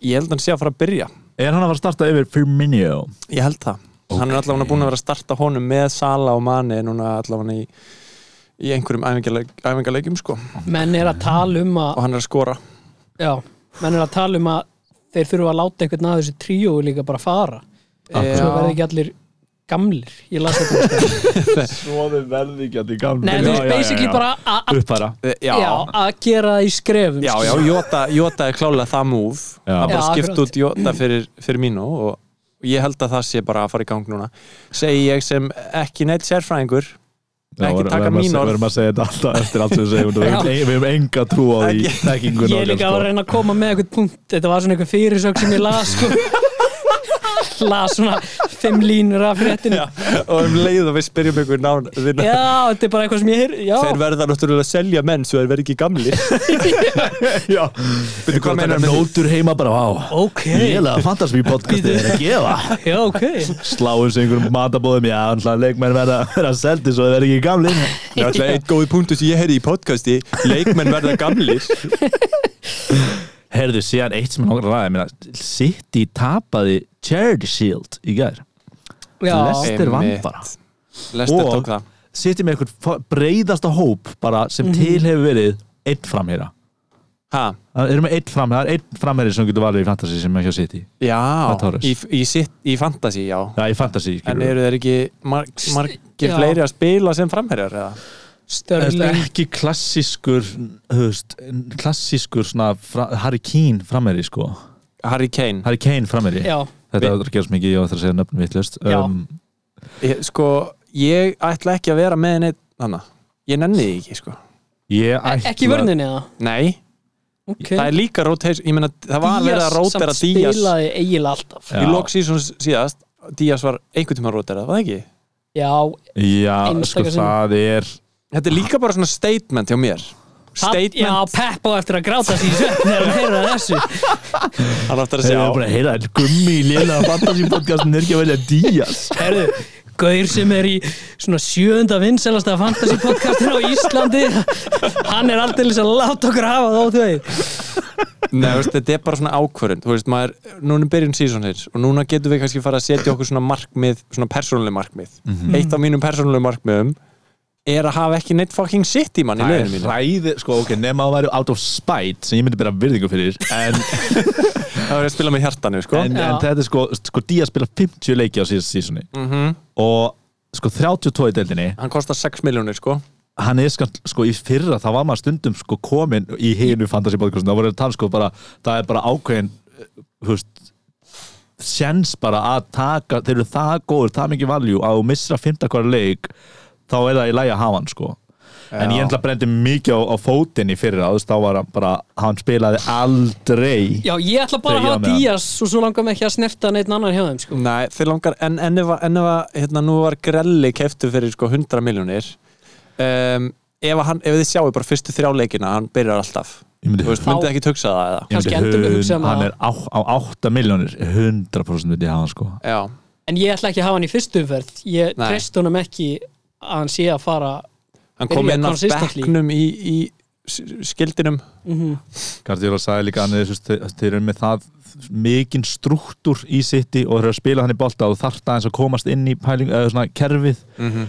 Speaker 2: ég held að hann sé að fara að byrja.
Speaker 3: Er hann að fara að starta yfir Firmino?
Speaker 2: Ég held það. Hann er allavega búin að vera að starta honum með Sala og Mani núna allavega í, í einhverjum æfingarleik, æfingarleikjum sko og
Speaker 4: menn er að tala um að
Speaker 2: hann er að skora.
Speaker 4: já, menn er að tala um að þeir þurfa að láta einhvern að þessu tríói líka bara fara
Speaker 2: Eh,
Speaker 4: svo verði ekki allir gamlir ég las þetta um stund.
Speaker 3: Svo þau verði ekki að því gamla
Speaker 4: Nei, þú veist, basically bara að- að-
Speaker 3: Uppfæra
Speaker 2: eh, Já,
Speaker 4: já, að gera það í skrefum sko.
Speaker 2: já, já, Jota, Jota er klálega það múf
Speaker 3: Já.
Speaker 2: að bara
Speaker 4: Já,
Speaker 2: skipta
Speaker 4: akkurat.
Speaker 2: út Jota fyrir, fyrir mínu og og ég held að það sé bara að fara í gang núna segi ég sem ekki neitt sérfræðingur
Speaker 3: Já,
Speaker 2: Ekki
Speaker 3: verðum-
Speaker 2: taka
Speaker 3: verðum að
Speaker 2: mín
Speaker 3: se-
Speaker 2: orð.
Speaker 3: verðum að segja þetta alltaf eftir allt sem við segjum Við höfum- við höfum enga trú á því sko.
Speaker 2: Ekki-
Speaker 3: þekkingun
Speaker 4: ég er líka
Speaker 2: sko.
Speaker 4: að reyna að koma með eitthvað punkt þetta var svona eitthvað fyrirsök sem ég las sko. las svona fimm línur af fréttinu já.
Speaker 2: og um leið og við spyrjum ykkur nán þeir
Speaker 4: þetta er bara eitthvað sem ég heyr já,
Speaker 2: verða náttúrulega að selja menn svo þeir verða ekki gamlir
Speaker 3: Já,
Speaker 2: Veitu hvað meinar með því?
Speaker 3: Nótur heima bara, vá
Speaker 4: ok,
Speaker 3: Lélega fantasmi podcasti er að gefa
Speaker 4: já, ok
Speaker 3: Sláum sig einhverjum matabóðum Já, hann slæði leikmenn verða að vera seldi Svo það verði ekki gamlin
Speaker 2: Það er alltaf einn góði punktu sem ég heyrði í podcasti leikmenn verða gamlir
Speaker 3: Herðu, síðan eitt sem er nokkur að ræða Sitt í tapaði Charity Shield í gær
Speaker 4: já,
Speaker 3: Lester vann
Speaker 2: Einmitt.
Speaker 3: bara
Speaker 2: Lester
Speaker 3: Og-
Speaker 2: tók það
Speaker 3: Sitt í með einhver breyðasta hóp bara
Speaker 4: Mhm.
Speaker 3: sem til hefur verið einn framherra
Speaker 2: ha,
Speaker 3: Það eru með einn framherra, það er einn framherri sem getur valið í fantasy sem ekki að sitt í
Speaker 2: Já,
Speaker 3: Hvað, Tóras?
Speaker 2: í, í, sitt, í fantasy, já
Speaker 3: Já, í fantasy
Speaker 2: En
Speaker 3: skilur við.
Speaker 2: eru þeir ekki mar margir
Speaker 4: Já.
Speaker 2: fleiri að spila sem framherjar eða?
Speaker 3: Þetta er
Speaker 4: störling
Speaker 3: ekki klassískur höfst, klassískur svona fra, Harry Kane framherri sko
Speaker 2: Harry Kane
Speaker 3: Harry Kane framherri
Speaker 4: já,
Speaker 3: þetta er að gerast mikið, ég ætla að segja Um, nöfnum vittlust
Speaker 4: Já.
Speaker 2: ég, Sko, ég ætla ekki að vera með neitt Þannig, ég nenni því ekki, sko
Speaker 3: ég ætla
Speaker 4: E- ekki í vörninni það
Speaker 2: Nei,
Speaker 4: ok,
Speaker 2: það er líka rotation Ég meina, það var verið að rótera Díaz
Speaker 4: spilaði eiginlega alltaf
Speaker 3: Já.
Speaker 2: Í lok síðan síðast Díaz var einhvern tímann rótera, var það ekki?
Speaker 4: já,
Speaker 3: já, sko
Speaker 4: Einstaka sinnum.
Speaker 3: það er
Speaker 2: Þetta er líka bara svona statement hjá mér
Speaker 4: það, já,
Speaker 2: Statement,
Speaker 4: Pep á eftir að gráta sér í svefn þegar hann heyrða þessu
Speaker 2: hann áttur
Speaker 3: þeir
Speaker 2: að segja
Speaker 3: eru bara að heyra en gummi í lélega fantasy podcastin er ekki að velja Díaz
Speaker 4: Herðu, Gaur sem er í svona sjöunda vinsalasta fantasy podcastin á Íslandi hann er aldrei að láta okkur hafa það á því
Speaker 2: Nei, veist, þetta er bara svona ákvörðun þú veist, maður, núna er byrjun sísonir og núna getum við kannski fara að setja okkur svona markmið svona persónuleg markmið eitt af mínum persónuleg markmiðum er að hafa ekki neitt fucking shit í mann í
Speaker 3: það er
Speaker 2: lögum mínu
Speaker 3: hræði, sko ok, nema að væri out of spite sem ég myndi bera virðingu fyrir en,
Speaker 2: það er að spila með hjartanu, sko
Speaker 3: en, en
Speaker 4: Já.
Speaker 3: þetta er sko, sko Díaz spila 50 leiki á síðast sísunni
Speaker 2: Mhm.
Speaker 3: og sko 32 í deildinni
Speaker 2: hann kostar 6 miljónir, sko
Speaker 3: hann er skant, sko í fyrra þá var maður stundum sko komin í hinu fantasy podcastin þá voru að tala sko bara, það er bara ákveðin eh, húst sjens bara að taka, þeir eru það góður það mikið valjú að þú missra fymta hvar leik þá er það í lægi að hafa hann sko en ég enda brendi mikið á, á fótinn í fyrra, þú veist, þá var hann bara hann spilaði aldrei
Speaker 4: Já, ég ætla bara að
Speaker 3: Þegar ég á
Speaker 4: hafa
Speaker 3: með hann.
Speaker 4: Díaz og svo langar mig ekki að snerta neitt annan hjá þeim sko.
Speaker 2: Nei, þeir langar, en enni var, enni var hérna, nú var grelli keftu fyrir sko 100 miljónir um, ef, að hann, ef þið sjáu bara fyrstu þrjá leikina hann byrjar alltaf,
Speaker 3: Ég myndi-
Speaker 2: þú veist, myndið ekki hugsa það eða
Speaker 3: Ég myndi
Speaker 4: Kannski endum við
Speaker 3: hund-
Speaker 4: hugsa um að-
Speaker 3: hann er á, á 8 miljónir 100% myndi ég hafa hann sko
Speaker 2: já,
Speaker 4: En ég ætla ekki að hafa hann í fyrstu umferð Ég
Speaker 2: Nei.
Speaker 4: treyst honum ekki að hann sé að fara
Speaker 2: hann
Speaker 4: Byrja
Speaker 2: kom inn af
Speaker 4: consistently.
Speaker 2: bekknum í, í s- skildinum
Speaker 3: Gardiola sagði líka annir, þessu, þeir, þeir eru með það mikinn struktúr í sitti og þeir eru að spila hann í bolta og þarft aðeins að komast inn í pæling, eða svona kerfið
Speaker 2: Mhm.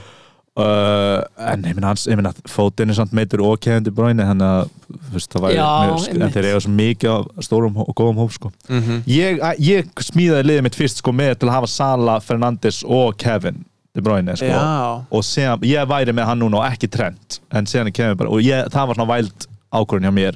Speaker 3: uh, en ég minna hans ég minna fótinn er samt meitur og keðandi bráinu þannig að þú veist, það væri
Speaker 4: Já,
Speaker 3: mjög- en
Speaker 4: einmitt.
Speaker 3: þeir eiga svo mikið af stórum hó- og góðum hóp sko.
Speaker 2: Mhm.
Speaker 3: ég, að- ég smíðaði liðið mitt fyrst sko með til að hafa Sala, Fernandes og Kevin De Bruyne sko
Speaker 2: Já.
Speaker 3: og sem, ég væri með hann núna og ekki trend en síðan kemur bara, og ég, það var svona væld ákvörðin hjá mér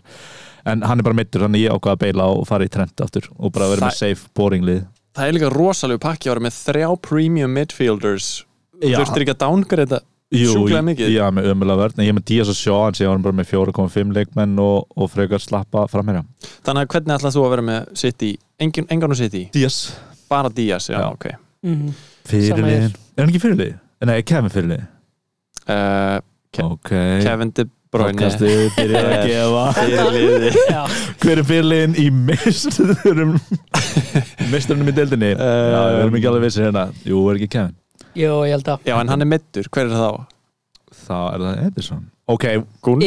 Speaker 3: en hann er bara mittur, þannig ég ákvaða að beila og fara í trend aftur og bara vera
Speaker 2: Það-
Speaker 3: með safe boring lið
Speaker 2: Það er líka rosalegu pakki að vera með þrjá premium midfielders
Speaker 3: Já.
Speaker 2: Þurftir ekki að downgrada sjúklega mikið.
Speaker 3: Já, með ömulega vörn, en ég er með Díaz og sjá en síðan var hann bara með 4,5 leikmenn og, og frekar slappa framherja
Speaker 2: Þannig að hvernig ætlað þú að vera með City Engin, Engan og City,
Speaker 3: Díaz,
Speaker 2: bara Díaz já,
Speaker 3: Já.
Speaker 2: ok
Speaker 4: Mhm.
Speaker 3: fyrirliðin Er hann ekki fyrirlið? Nei, Kevin fyrirlið
Speaker 2: uh, Ke-
Speaker 3: Ok,
Speaker 2: Kevin De Bruyne
Speaker 3: podcastið byrjar að gefa
Speaker 2: fyrirliði
Speaker 4: Já.
Speaker 3: Hver er fyrirliðin í mesturum Mesturunum í deildinni? já, við
Speaker 2: Um,
Speaker 3: erum ekki alveg vissir hérna Jú, er ekki Kevin
Speaker 4: Jú, ég held að
Speaker 2: Já, en hann er middur, hver er það?
Speaker 3: Þá er það Edison Ok,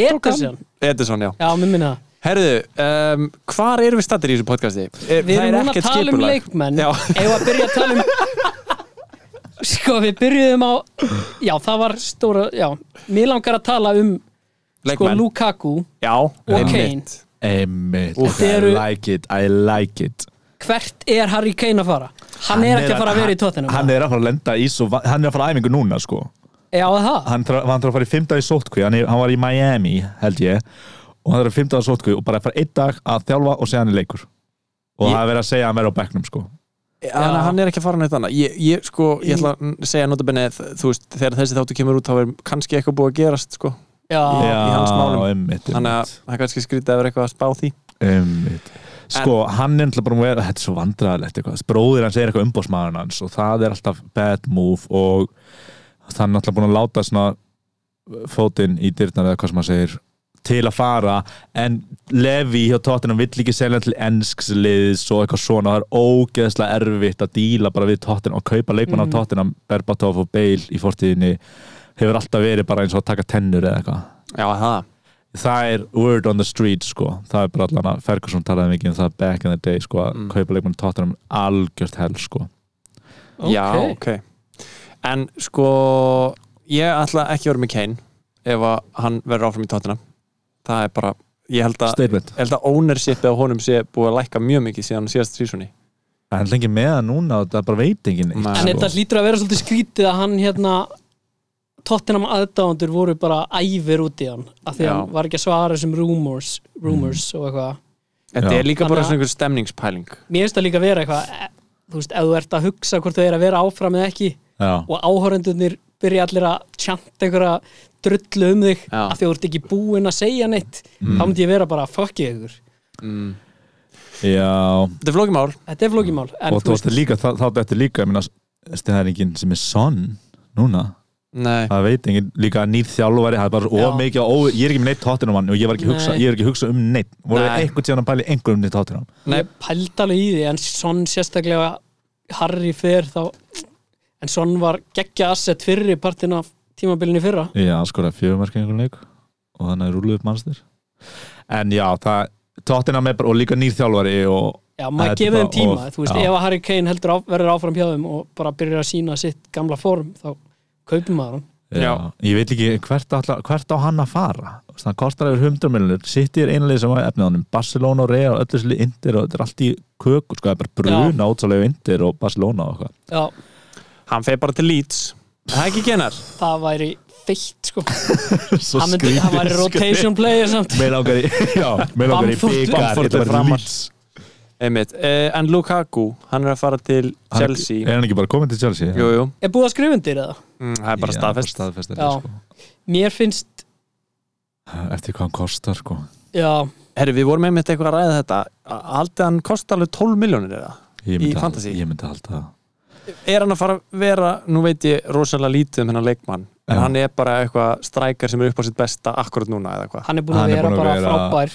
Speaker 4: Edison,
Speaker 2: Edison, já
Speaker 4: já, mér minna það.
Speaker 2: Herðu, um, hvar erum við stattir í þessu podcasti? Er,
Speaker 4: Við
Speaker 2: það
Speaker 4: erum
Speaker 2: er
Speaker 4: núna að
Speaker 2: ekkert
Speaker 4: tala um
Speaker 2: skipulag.
Speaker 4: leikmenn
Speaker 2: Já.
Speaker 4: Ef að byrja að tala um Sko, við byrjuðum á Já, það var stóra, já Mér langar að tala um sko,
Speaker 2: Leikmenn,
Speaker 4: Lukaku
Speaker 2: já,
Speaker 4: og
Speaker 2: einmitt.
Speaker 4: Kane
Speaker 3: einmitt
Speaker 4: Úff.
Speaker 3: I
Speaker 4: Eru-
Speaker 3: like it, I like it
Speaker 4: Hvert er Harry Kane að fara? Hann, er ekki að fara að vera í tóttinum
Speaker 3: Hann er að fara að lenda í svo Hann er að fara að æfingu núna sko
Speaker 4: Já, það
Speaker 3: Hann þarf hann þarf að fara í fimmta í sótkví hann, er- hann var í Miami held ég Og hann þarf að fimmta í sótkví Og bara að fara einn dag að þjálfa og segja hann í leikur Og
Speaker 2: Ég-
Speaker 3: það er verið að segja að hann verið á bekknum sko
Speaker 2: Þannig að hann er ekki að fara neitt annað ég, ég, sko, ég ætla að segja notabenni þú veist, þegar þessi þáttu kemur út þá er kannski eitthvað búið að gerast sko.
Speaker 4: Já,
Speaker 2: í hans málum.
Speaker 3: einmitt,
Speaker 2: þannig að
Speaker 3: einmitt.
Speaker 2: það er kannski skrítið að vera eitthvað að spá því
Speaker 3: Einmitt. Sko, hann er alltaf bara að vera, þetta er svo vandræðilegt eitthvað, bróðir hans er eitthvað umbóðsmaður hans og það er alltaf bad move og þannig alltaf búin að láta svona fótinn í dyrnar eða hvað sem hann segir til að fara en Levi hjá Tottenham vill ekki selja hann til ennsks liðs og eitthvað svona það er ógeðslega erfitt að díla bara við Tottenham og kaupa
Speaker 4: Mhm.
Speaker 3: leikmann af Tottenham Berbatov og Bale í fortíðinni hefur alltaf verið bara eins og að taka tennur eða eitthvað
Speaker 2: Já, það,
Speaker 3: það er word on the street sko. það er bara allan að Ferguson talaði mikið um það back in the day sko, að
Speaker 2: Mm.
Speaker 3: kaupa leikmann Tottenham algjört hell sko.
Speaker 2: já, ok En sko ég ætla ekki að vera með Kane ef að hann verður áfram í tóttina það er bara, ég held að
Speaker 3: statement,
Speaker 2: ég held að ownershipið á honum sé búið að lækka mjög mikið síðan síðast sísunni
Speaker 3: en hann lengi með það núna og það er bara veitingin sko.
Speaker 2: Nei.
Speaker 4: En þetta hlýtur að vera svolítið skrítið að hann hérna Tottenham aðdáðandur voru bara æfir út í hann af því
Speaker 2: Já.
Speaker 4: að hann var ekki að svara þessum rumors, rumors og eitthvað
Speaker 2: Þetta
Speaker 3: Já.
Speaker 2: er líka
Speaker 4: Þannig
Speaker 2: bara
Speaker 4: að-
Speaker 2: svona einhver stemningspæling
Speaker 4: Mér finnst það líka að vera eitthvað eh, þú veist, ef þú ert að hugsa hvort þú er að vera áfram eða ekki
Speaker 3: já,
Speaker 4: og áhorendunir byrja allir að tjanta einhverja drullu um þig
Speaker 2: Já.
Speaker 4: af því að þú ert ekki búinn að segja neitt þá myndi ég vera bara fokkið ykkur
Speaker 2: mm.
Speaker 3: já.
Speaker 2: Þetta er flókimál
Speaker 4: Þetta er flókimál en
Speaker 3: og
Speaker 4: þú
Speaker 3: þú veist líka þá þá þetta er líka ég meina, það er enginn sem er son núna,
Speaker 2: Nei,
Speaker 3: það veit enginn líka nýr þjálfari, það er bara of
Speaker 4: Já.
Speaker 3: mikið ó, ég er ekki með neitt Tottenham mann og ég, var ekki að hugsa,
Speaker 4: Nei.
Speaker 3: ég er ekki að hugsa um neitt voru
Speaker 2: Nei.
Speaker 3: einhvern tíðan að pæli einhverjum neitt Tottenham
Speaker 2: nei,
Speaker 4: ég pældi alveg í því en Son sérstaklega Harry fer þá en Son var geggja asset fyrri partin af tímabilinu í fyrra
Speaker 3: Já, hann skoraði fjögumarka í einhvern leik og þannig að rúluðu upp mannstir En já, það Tottenham er bara og líka nýr þjálfari og
Speaker 4: Já,
Speaker 3: Þetta
Speaker 4: maður
Speaker 3: er
Speaker 4: gefið
Speaker 3: bara
Speaker 4: þeim tíma
Speaker 3: of-
Speaker 4: þú veist,
Speaker 3: já.
Speaker 4: ef að Harry Kane heldur á, verður áfram hjá þeim og bara byrjar að sína sitt gamla form þá kaupir maður hann
Speaker 3: já,
Speaker 2: Já.
Speaker 3: ég veit ekki hvert, alla, hvert á hann að fara Þú veist, hann kostar yfir 100 miljonur City er einlega sem að efnið á honum Barcelona og Rea og öllu sli Indir og þetta er allt í köku sko, það er bara bruna átsálega Indir og Barcelona og eitthvað
Speaker 4: Já,
Speaker 2: hann feir bara til Leeds Það er ekki genar
Speaker 4: það væri feitt sko Hann
Speaker 3: Svo
Speaker 4: myndi, hann væri rotation player samt
Speaker 3: Mér langar í, já, mér langar í
Speaker 4: Bamford-
Speaker 3: byggar
Speaker 2: Bamford
Speaker 3: þetta
Speaker 2: er
Speaker 3: var
Speaker 2: framar.
Speaker 3: Leeds.
Speaker 2: Einmitt, uh, en Lukaku, hann er að fara til
Speaker 3: Hann-
Speaker 2: Chelsea
Speaker 3: Er hann ekki bara komin til Chelsea?
Speaker 2: Jú, jú,
Speaker 4: Er búið að skrifa undir eða?
Speaker 2: mm, það er bara
Speaker 3: Já,
Speaker 2: staðfest
Speaker 3: staðfest er
Speaker 4: Já.
Speaker 3: það, sko.
Speaker 4: Mér finnst,
Speaker 3: Eftir hvað hann kostar sko.
Speaker 4: já,
Speaker 2: Herri, við vorum einmitt eitthvað að ræða þetta Aldrei hann kosti alveg 12 miljónir eða
Speaker 3: Ég
Speaker 2: Í
Speaker 3: myndi halda-
Speaker 2: fantasy.
Speaker 3: Ég myndi halda það
Speaker 2: Er hann að fara að vera, nú veit ég rosalega lítið um hennar leikmann En
Speaker 3: Já.
Speaker 2: hann er bara eitthvað strækar sem er upp á sitt besta akkurat núna eða hvað
Speaker 4: hann er búin
Speaker 3: Hann
Speaker 4: að
Speaker 3: er
Speaker 4: vera
Speaker 3: búinn að
Speaker 4: bara
Speaker 3: vera-
Speaker 4: frábær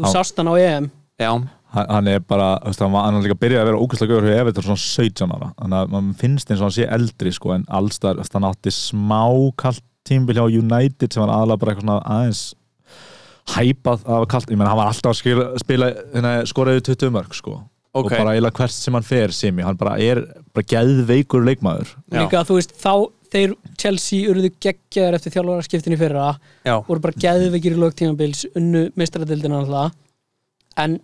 Speaker 4: Þú
Speaker 3: Já.
Speaker 4: sást hann á EM
Speaker 2: Já,
Speaker 3: hann hann er bara, þú veist, hann var hann var líka byrjaði að vera ógæslega góður fyrir Everton svona 17 ára þannig að mann finnst eins og hann sé eldri sko, en alls þar, hann átti smá kallt tímbil hjá United sem var aðalega bara eitthvað svona aðeins hæpað af kallt, ég menn hann var alltaf að skila, spila hérna, skoraði 20 mörg sko
Speaker 2: ok
Speaker 3: og bara eiginlega hvert sem hann fer Simi, hann bara er bara geðveikur leikmaður
Speaker 2: Já.
Speaker 4: Líka þú veist, þá þeir Chelsea urðu geggjaðar eftir þjálfararskiptin í fyrra
Speaker 2: Já,
Speaker 4: voru bara geðveikir í lögtímabils unnu meistaradildina alltaf en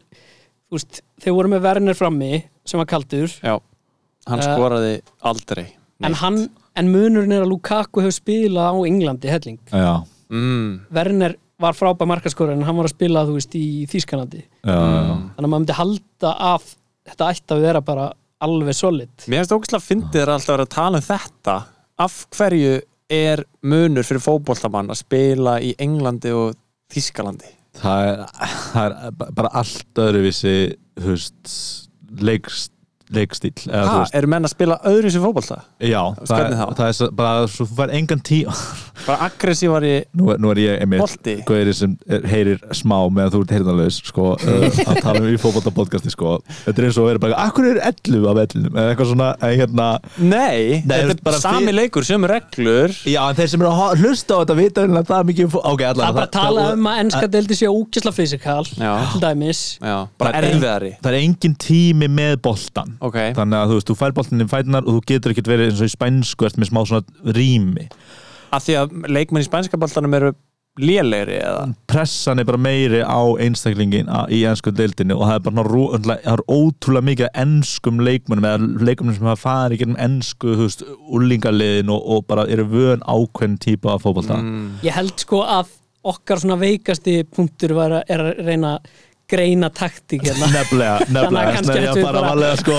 Speaker 4: þú veist, þeir voru með Werner frammi sem var kaldur
Speaker 2: hann
Speaker 4: Eh,
Speaker 2: skoraði aldrei
Speaker 4: en, hann, en munurinn er að Lukaku hefur spilað á Englandi helling
Speaker 3: já,
Speaker 2: mm,
Speaker 4: Werner var frábær markaskorur en hann var að spila þú veist, í Þýskanandi
Speaker 3: já,
Speaker 2: Mm.
Speaker 3: já.
Speaker 4: þannig að maður myndi halda að þetta ætti að vera bara alveg solid
Speaker 2: Mér finnst ógæslega fyndið er alltaf að vera að tala um þetta Af hverju er munur fyrir fótboltamann að spila í Englandi og Þískalandi?
Speaker 3: það er, það er ba- bara allt öðruvísi þú veist leikst, leikstíl eða, þú
Speaker 2: Ha,
Speaker 3: veist,
Speaker 2: eru menn að spila öðru sem fótbolta?
Speaker 3: já, það,
Speaker 2: hvernig
Speaker 3: er-
Speaker 2: þá?
Speaker 3: það er svo- bara svo þú fær engan tí
Speaker 2: Bara aggressívari
Speaker 3: nú, er- nú er ég einmitt
Speaker 2: bolti?
Speaker 3: Guðri sem er, heyrir smá meðan þú ert heyrðanlaus sko, uh, að tala um í fótboltapodcasti sko. þetta er eins og að vera bara akkur er 11 af 11 eða eitthvað svona en hérna, þú
Speaker 2: Nei, þetta
Speaker 3: veist,
Speaker 2: er bara
Speaker 3: bara
Speaker 2: sami
Speaker 3: fyrir-
Speaker 2: leikur, sömu reglur
Speaker 3: já en þeir sem eru að ho- hlusta á þetta vita eiginlega það er mikið um fó- ok, allavega,
Speaker 4: Það er bara að tala um að ennska deildi sé úkisla fysikal
Speaker 2: Já.
Speaker 4: til dæmis
Speaker 2: Já, bara
Speaker 3: Það er-
Speaker 2: erfiðari
Speaker 3: það er engin tími með boltan
Speaker 2: Ok,
Speaker 3: þannig að þú veist, þú fær boltin í fætunar og þú getur ekkert verið eins og í spænsku eftir með smá svona rými
Speaker 2: af því að leikmenn í spænska boltanum eru lélegri eða
Speaker 3: pressan er bara meiri á einstaklingin a- í ennsku deildinu og það er bara svona rú- það er ótrúlega mikið af ennskum leikmönnum eða leikmönnum sem hafa farið gerum ennsku, þú veist, úlingaliðin og, og bara eru vön ákveðin típa af fótbolta
Speaker 2: Mm.
Speaker 4: Ég held sko að okkar svona veikasti punktur var að, er að reyna að greina taktík hérna
Speaker 3: nefnilega,
Speaker 4: Þannig að
Speaker 3: nefnilega,
Speaker 4: kannski
Speaker 3: þannig að
Speaker 4: ættum við
Speaker 3: bara
Speaker 4: bara-
Speaker 3: valega sko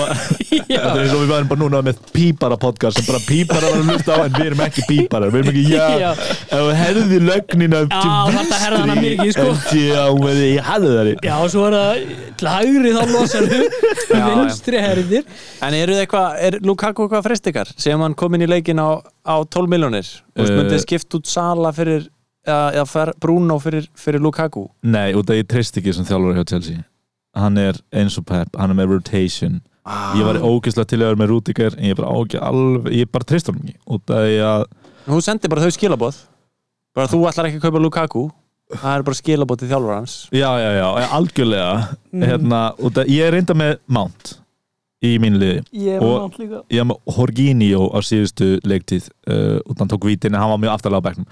Speaker 3: þetta er eins og við varum bara núna með pípara podcast sem bara pípara var að hlusta á en við erum ekki píparar, við erum ekki já,
Speaker 4: Já.
Speaker 3: ef við herðið lögnina
Speaker 4: Já, þarna herði hana mikið, sko.
Speaker 3: en já, með því, ég hafði það
Speaker 4: Já, svo er það til hægri þá losar
Speaker 3: Mm.
Speaker 2: Já, já.
Speaker 4: vinstri herðir
Speaker 2: En eru þið eitthvað, er Lukaku eitthvað að fresta ykkar? Sem hann kom inn í leikin á, á 12 miljónir Þú veist,
Speaker 3: Eh.
Speaker 2: myndið skipt út Sala fyrir eða, eða fer, Bruno fyrir, fyrir Lukaku
Speaker 3: nei, út af ég treyst ekki sem þjálfur hjá Chelsea hann er eins og Pep, hann er með rotation ég var ógeðslega til að vera með Rudiger en ég bara ágæð alveg, ég bara treyst hann ekki út af ég að
Speaker 2: Hún sendi bara þau skilaboð Bara þú ætlar ekki að kaupa Lukaku Það er bara skilaboð til þjálfur hans
Speaker 3: Já, já, já, ég- algjörlega
Speaker 4: Mm.
Speaker 3: hérna, og það, Ég er reynda með Mount í mínu liði
Speaker 4: Ég er
Speaker 3: Og-
Speaker 4: nátt líka
Speaker 3: Ég er með Horginio á síðustu leiktíð uh, og hann tók vítin en hann var mjög aftarlega á bæknum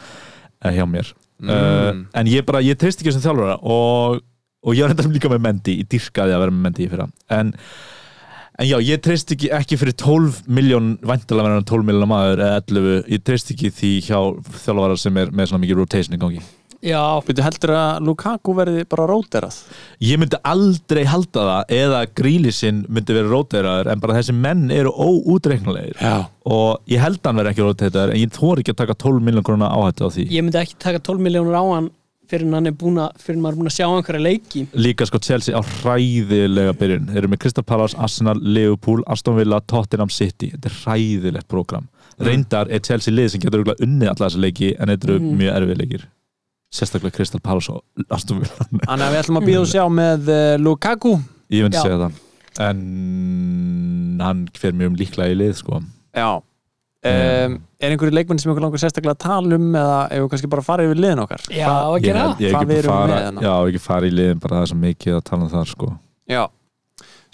Speaker 3: uh, hjá mér
Speaker 2: Mm.
Speaker 3: uh, En ég bara, ég treyst ekki sem þjálfara og, og ég er reynda líka með Mendy ég dyrkaði að vera með Mendy í fyrra en, en já, ég treyst ekki, ekki fyrir 12 miljón, væntalega verður hann 12 miljón maður eða 11, ég treyst ekki því hjá þjálfara sem er með svona mikið rotation í gangi
Speaker 4: Já,
Speaker 2: Býttu heldur að Lukaku verði bara róterað
Speaker 3: ég myndi aldrei halda það eða grílisinn myndi vera róteraður en bara þessi menn eru óútreiknulegir
Speaker 2: Já
Speaker 3: og ég held að hann verði ekki róteraður en ég þóri ekki að taka 12 miljón krónar áhættu á því
Speaker 4: ég myndi ekki taka 12 miljónur á hann fyrir hann er búin að, fyrir maður er búin að sjá einhverja leiki
Speaker 3: líka sko Chelsea á hræðilega byrjun þeir eru með Crystal Palace, Arsenal, Liverpool Aston Villa, Tottenham City þetta er hræðilegt program
Speaker 4: Mm.
Speaker 3: reyndar er Chelsea lið sem getur örugglega unnið alla þessa leiki en þetta eru
Speaker 4: Mm.
Speaker 3: mjög erfið leikir sérstaklega Crystal Palace og Aston Villa
Speaker 2: Þannig að við ætlum að býða og sjá með uh, Lukaku
Speaker 3: ég myndi
Speaker 4: Já.
Speaker 3: segja það en hann fer mjög um líklega í lið sko
Speaker 2: Já um, Er einhverju leikmenn sem ykkur langar sérstaklega að tala um eða ef við kannski bara farið yfir liðin okkar
Speaker 4: Já, að
Speaker 3: ég,
Speaker 4: gera
Speaker 3: held- ég,
Speaker 2: Hvað
Speaker 3: ekki
Speaker 2: við erum
Speaker 3: fara,
Speaker 2: með hérna.
Speaker 3: já, ekki fara í liðin bara það er svo mikið að tala um það sko
Speaker 2: Já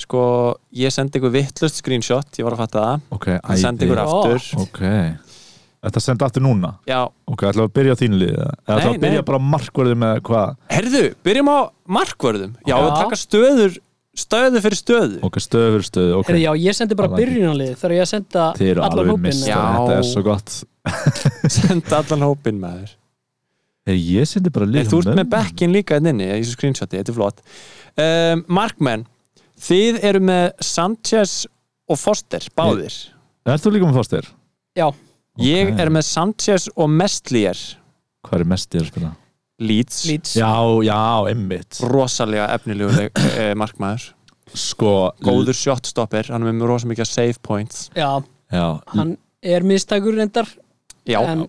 Speaker 2: Sko, ég sendi ykkur vittlust screenshot Ég var að fatta það
Speaker 3: ok,
Speaker 2: Ég sendi ykkur
Speaker 4: Ó.
Speaker 2: aftur
Speaker 3: ok þetta sendi aftur núna
Speaker 2: Já
Speaker 3: ok, ætlum við að byrja á þínu liði eða ætlum við
Speaker 2: Nei,
Speaker 3: að byrja
Speaker 2: nei.
Speaker 3: bara á markverði með hvað
Speaker 2: Herðu, byrjum á markvörðum Já,
Speaker 4: Já.
Speaker 2: við taka stöður Stöðu fyrir stöðu
Speaker 3: ok, stöður, stöðu, ok
Speaker 4: Herri, já, ég sendi bara
Speaker 3: I like it.
Speaker 4: byrjunarlið þegar ég að senda
Speaker 3: þið eru
Speaker 4: allan
Speaker 3: alveg
Speaker 4: hópinn
Speaker 3: mistað,
Speaker 2: Já.
Speaker 3: þetta er svo gott
Speaker 2: Senda allan hópinn með þér
Speaker 3: Hey, ég sendi bara
Speaker 2: Nei,
Speaker 3: liðin
Speaker 2: þú ert með bekkin líka enn inni í þessu screenshoti, þetta er flott um, Markmenn, þið eru með Sanchez og Foster, báðir
Speaker 3: er þú líka með fóstir?
Speaker 4: Já,
Speaker 2: Ég er með Sanchez og Mestlier
Speaker 3: hvað er mest ég að spila?
Speaker 2: Leeds,
Speaker 4: Leeds
Speaker 3: já, já, einmitt
Speaker 2: rosalega efnilegu e, markmaður
Speaker 3: sko,
Speaker 2: Góður shotstopper, hann er með rosa mikið save points
Speaker 4: Já,
Speaker 3: já,
Speaker 4: hann er mistakur reyndar
Speaker 2: Já,
Speaker 4: en,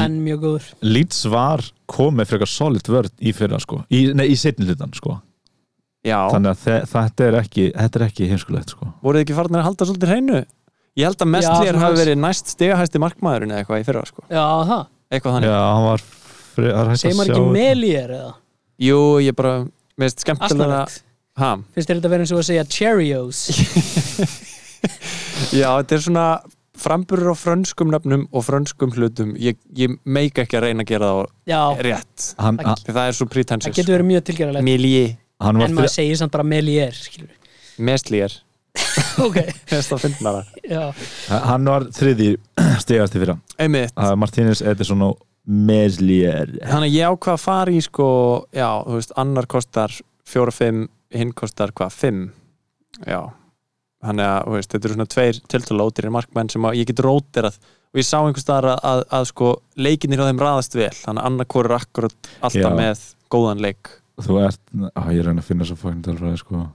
Speaker 4: en mjög góður
Speaker 3: Leeds var komið frekar solid vörð í fyrra sko, í, nei, í setni hlutan sko
Speaker 2: já,
Speaker 3: þannig að þe- þetta er ekki þetta er ekki heimskulegt sko
Speaker 2: voruð þið ekki farin að halda svolítið hreinu? Ég held að
Speaker 4: Já,
Speaker 2: Mestlier
Speaker 4: svona-
Speaker 2: hafi verið næst stigahæsti markmaðurinn eða eitthvað í fyrra, sko
Speaker 4: Já, það,
Speaker 2: Eitthvað
Speaker 3: já,
Speaker 2: þannig
Speaker 3: hann var fri, það er hægt
Speaker 4: segir
Speaker 3: að
Speaker 4: maður
Speaker 3: sjá
Speaker 4: ekki Melier eða
Speaker 2: Jú, ég bara, mér veist skemmtilega
Speaker 4: Asnalegt
Speaker 2: Ha,
Speaker 4: Finnst þér þetta verið eins og að segja Cheerios
Speaker 2: Já, þetta er svona framburur á frönskum nöfnum og frönskum hlutum ég, ég meik ekki að reyna að gera það
Speaker 4: Já,
Speaker 2: rétt
Speaker 3: hann, hann,
Speaker 2: því það er svo
Speaker 4: það
Speaker 2: pretentious
Speaker 4: getur verið mjög tilgerðalegt
Speaker 2: Milji,
Speaker 3: hann
Speaker 4: En
Speaker 3: var fri,
Speaker 4: maður segir samt bara Melier skilur. við.
Speaker 2: mestlýjar
Speaker 4: Ok,
Speaker 2: þess að finna það
Speaker 4: já
Speaker 3: hann var þriði stegast í fyrra
Speaker 2: einmitt,
Speaker 3: Það er Martínez Edison og Meslier
Speaker 2: þannig að ég ákvað að fara í sko, já, þú veist, annar kostar fjóra fimm, hinn kostar hvað, fimm já, þannig að, þú veist, þetta eru svona tveir tiltölu ótyrir markmenn sem að ég get róterað og ég sá einhvers staðar að, að, að sko leikinir á þeim raðast vel þannig að annarkor er akkurat alltaf
Speaker 3: Já.
Speaker 2: með góðan leik
Speaker 3: Þú ert, á, ég er að finna svo fókin tölfræði sko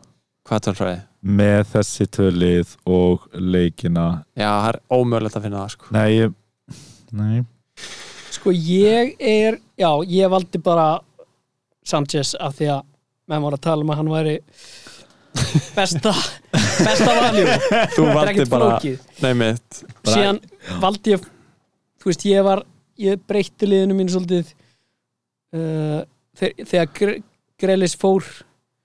Speaker 2: hvað tölfræði?
Speaker 3: Með þessi tölið og leikina
Speaker 2: Já, það er ómögulegt að finna það sko
Speaker 3: Nei, ég, nei
Speaker 4: Sko ég er, já, ég valdi bara Sanchez af því að menn voru að tala um að hann væri besta besta valjú,
Speaker 2: Þú
Speaker 4: þetta er
Speaker 2: valdi
Speaker 4: ekkert
Speaker 2: bara,
Speaker 4: flókið
Speaker 2: nei mitt
Speaker 3: Bara-
Speaker 4: síðan valdi ég þú veist, ég var, ég breytti liðinu mín svolítið uh, þegar, þegar Gre- Grelis fór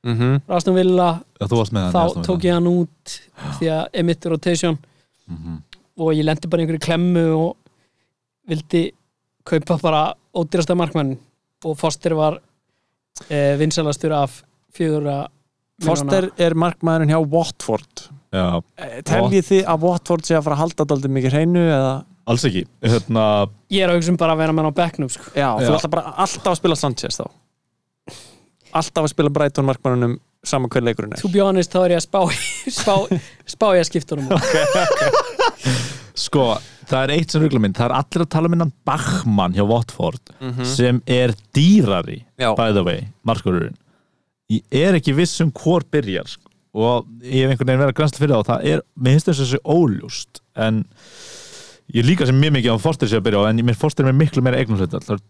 Speaker 2: mm
Speaker 4: Rastum Villa,
Speaker 3: Já, Þú varst með hann
Speaker 4: þá tók ég hann út því að emitt rotation
Speaker 3: mm -hmm.
Speaker 4: og ég lendi bara í einhverju klemmu og vildi kaupa bara ódýrasta markmann og Foster var e, vinsalastur af fjögurra
Speaker 2: Foster er markmaðurinn hjá Watford
Speaker 3: Já,
Speaker 2: Eh, Teljið þið að Watford sé að fara að halda daldið mikið hreinu eða
Speaker 3: alls ekki Hérna,
Speaker 4: ég er að hugsa um bara að vera með hann á bekknum sko.
Speaker 2: Já, þú
Speaker 3: Já.
Speaker 2: ætla bara alltaf að spila Sanchez þá Alltaf að spila Brighton markmannunum saman hver leikurinn er
Speaker 4: to be honest þá er ég að spá í- spá, spá ég að skipta honum út.
Speaker 3: sko, það er eitt sem rugla minn Það er allir að tala um innan Bachmann hjá Watford
Speaker 4: Mhm.
Speaker 3: sem er dýrari
Speaker 2: Já.
Speaker 3: by the way, markururinn Ég er ekki viss um hvor byrjar sko. og ég hef einhvern veginn verið að grænsta fyrir það og það er, mér finnst þess að þessi óljúst en ég líka sem mjög mikið á fórstir sér að byrja á en mér fórstir með miklu meira eignumhlut það er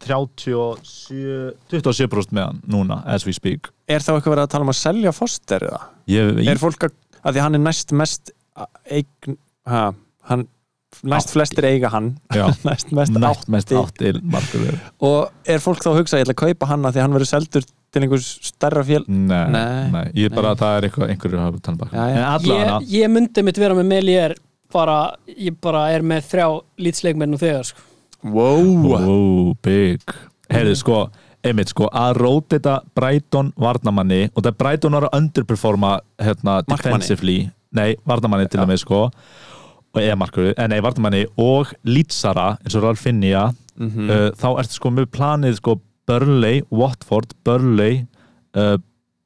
Speaker 3: 37 27% með hann núna, as we speak
Speaker 2: Er þá eitthvað verið að tala um að selja Foster eða?
Speaker 3: ég, ég,
Speaker 2: Er fólk að, að því hann er næst mest eign, ha, hann næst flestir eiga hann
Speaker 3: já,
Speaker 2: næst mest
Speaker 3: nætt mest
Speaker 2: átti
Speaker 3: áttil markurur
Speaker 2: og er fólk þá að hugsa að ég ætla að kaupa hann að því að hann verður seldur til einhvers stærra fjöl
Speaker 3: nei,
Speaker 2: Nei,
Speaker 3: nei, ég er bara
Speaker 2: nei.
Speaker 3: að það er eitthvað einhverju að tala um
Speaker 2: Já,
Speaker 3: bakmann
Speaker 2: já.
Speaker 3: en allavega
Speaker 4: ég, ég myndi mitt vera með Melier bara, ég bara er með þrjá lýtsleikmenn og þegar sko.
Speaker 3: Mm.
Speaker 2: wow.
Speaker 3: Ó, big Herðu sko, einmitt sko að róta þetta Brighton varnamanni og það Brighton var að underperforma hérna,
Speaker 2: Markmanni.
Speaker 3: defensively Nei, varnamanni til og með sko og eða markur, eh, nei, varnamanni og lýtsara, eins og Ralf Finnja
Speaker 2: Mm. Mhm.
Speaker 3: uh, þá ertu sko með planið sko Burnley, Watford, Burnley uh,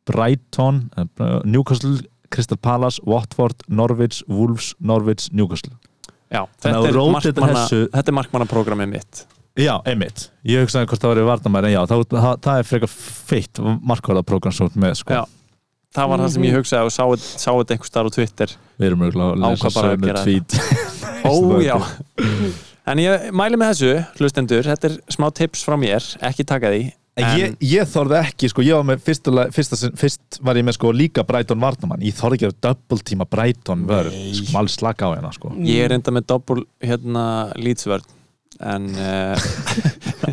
Speaker 3: Brighton uh, Newcastle, Crystal Palace Watford, Norwich, Wolves Norwich, Newcastle
Speaker 2: Já,
Speaker 3: Þannig
Speaker 2: þetta,
Speaker 3: að
Speaker 2: er
Speaker 3: rótið
Speaker 2: markmanna,
Speaker 3: þessu-
Speaker 2: þetta er markmannaprogrammið mitt
Speaker 3: Já, einmitt. Ég hugsaði hvort það verið varnamæri, en já, það, það, það er frekar feitt markvarðarprogram svo með, sko.
Speaker 2: Já. Það var það sem
Speaker 4: Mhm.
Speaker 2: ég hugsaði og sá, sá þetta einhvers staðar á Twitter
Speaker 3: Við erum örgulega að lesa
Speaker 2: Ákvað bara að
Speaker 3: sömu
Speaker 2: gera
Speaker 3: tvít.
Speaker 2: Ó, já En ég mæli með þessu, hlustendur Þetta er smá tips frá mér, ekki taka því En
Speaker 3: Ég, ég þorði ekki, sko, ég var með fyrstulega, fyrsta, sinn- fyrst var ég með sko líka Brighton varnamann, ég þorði ekki að double tíma Brighton vörð, sko, alls slaka á hérna, sko.
Speaker 2: ég er enda með doppul hérna lýtsvörn En uh,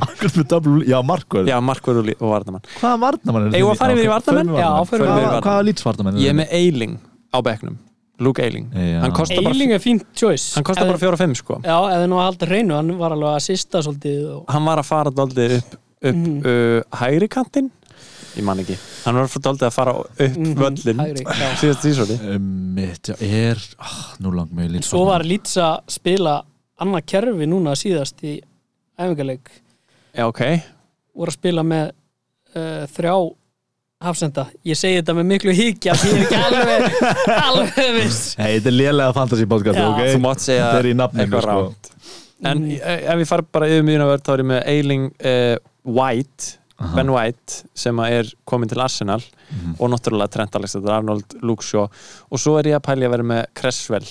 Speaker 3: Akkur með double, já, markvörð.
Speaker 2: já, markvörð og lí- og varnamann
Speaker 3: Hvaða varnamann er
Speaker 2: Eigum við að fara yfir í varnamenn?
Speaker 4: Já, förum
Speaker 2: yfir í
Speaker 3: Hvaða,
Speaker 2: varnamenn.
Speaker 3: hvaða lýtsvarnamann
Speaker 2: Ég er með Eiling á bekknum Luke Eiling
Speaker 3: Já.
Speaker 2: Hann kostar bara,
Speaker 4: Eiling er fínt choice
Speaker 2: hann kostar
Speaker 4: Ef-
Speaker 2: bara fjóra og fimm sko
Speaker 4: Já, eða nú að halda hreinu, hann var alveg að sista svolítið og
Speaker 2: Hann var að fara daldið upp, upp
Speaker 4: Mhm.
Speaker 2: uh, hægri kantinn Ég man ekki Hann var daldið að fara upp
Speaker 4: Mhm,
Speaker 2: völlin
Speaker 4: hægri, já.
Speaker 2: Síðast sísóti
Speaker 3: Mitt, já, er, ah, nú langt með lýtsvarnamann.
Speaker 4: Svo var Leeds að spila annað kerfi núna síðast í æfingarleik
Speaker 2: Já, ok
Speaker 4: voru að spila með uh, þrjá hafsenda ég segi þetta með miklu higgja því ég er ekki alveg, alveg viss
Speaker 3: Hei, þetta er lélega fantasy podcast,
Speaker 4: Já.
Speaker 3: ok?
Speaker 2: Þú mátt segja
Speaker 3: Þetta er í nafninu,
Speaker 2: eitthvað
Speaker 3: sko.
Speaker 2: rátt En
Speaker 3: Mm.
Speaker 4: Mm.
Speaker 2: e- ef ég far bara yfir miðjunarvörð þá er ég með Eiling uh, White
Speaker 3: Aha.
Speaker 2: Ben White sem að er komin til Arsenal og náttúrulega Trent Alexander Arnold, Luke Shaw og svo er ég að pælja að vera með Cresswell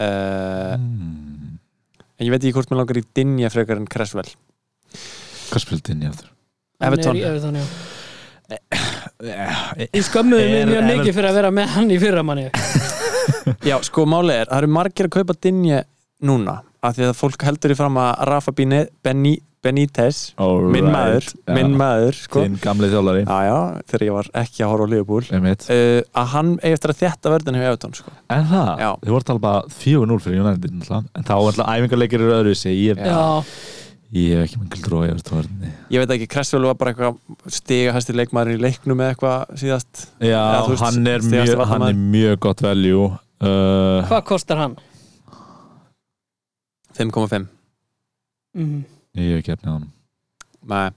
Speaker 2: uh,
Speaker 3: Mm.
Speaker 2: en ég veit ekki hvort mér langar í Dinja frekar en Cresswell
Speaker 3: Hvað spilaði inn í aftur?
Speaker 4: Hann er
Speaker 2: Everton.
Speaker 4: í Everton, já
Speaker 3: Eh,
Speaker 4: Ég skömmuði mig
Speaker 3: Er
Speaker 4: mjög mikið
Speaker 3: Everton-
Speaker 4: fyrir að vera með hann í fyrra manni
Speaker 2: Já, sko málið er, það eru margir að kaupa Dinja núna, af því að fólk heldur í fram að Rafa Bine, Beni, Benítez
Speaker 3: All
Speaker 2: minn
Speaker 3: right.
Speaker 2: maður,
Speaker 3: Já.
Speaker 2: minn maður sko.
Speaker 3: Þinn gamli þjólari
Speaker 2: Já, já, þegar ég var ekki að horfa á Liverpool
Speaker 3: Einmitt.
Speaker 2: uh, að hann eigi eftir að þetta verðin hefur Evertón sko.
Speaker 3: En það,
Speaker 2: Já.
Speaker 3: þið voru að tala bara 4-0 fyrir United náttúrulega. En þá alltaf æfingarleikir eru öðru sig Ég
Speaker 4: Já,
Speaker 3: ég hef ekki með guldrói yfir tóðarni
Speaker 2: ég veit ekki, Kressvel var bara eitthvað stiga hæsti leikmaður í leiknum eða eitthvað síðast
Speaker 3: Já,
Speaker 2: Já, þú veist,
Speaker 3: hann, er
Speaker 2: stigasti
Speaker 3: mjög, hann
Speaker 2: varnarmaður.
Speaker 3: er mjög gott veljú uh,
Speaker 4: hvað kostar hann?
Speaker 2: 5,5
Speaker 4: Mm.
Speaker 3: Ég hef ekki efnið á hann
Speaker 2: Nei.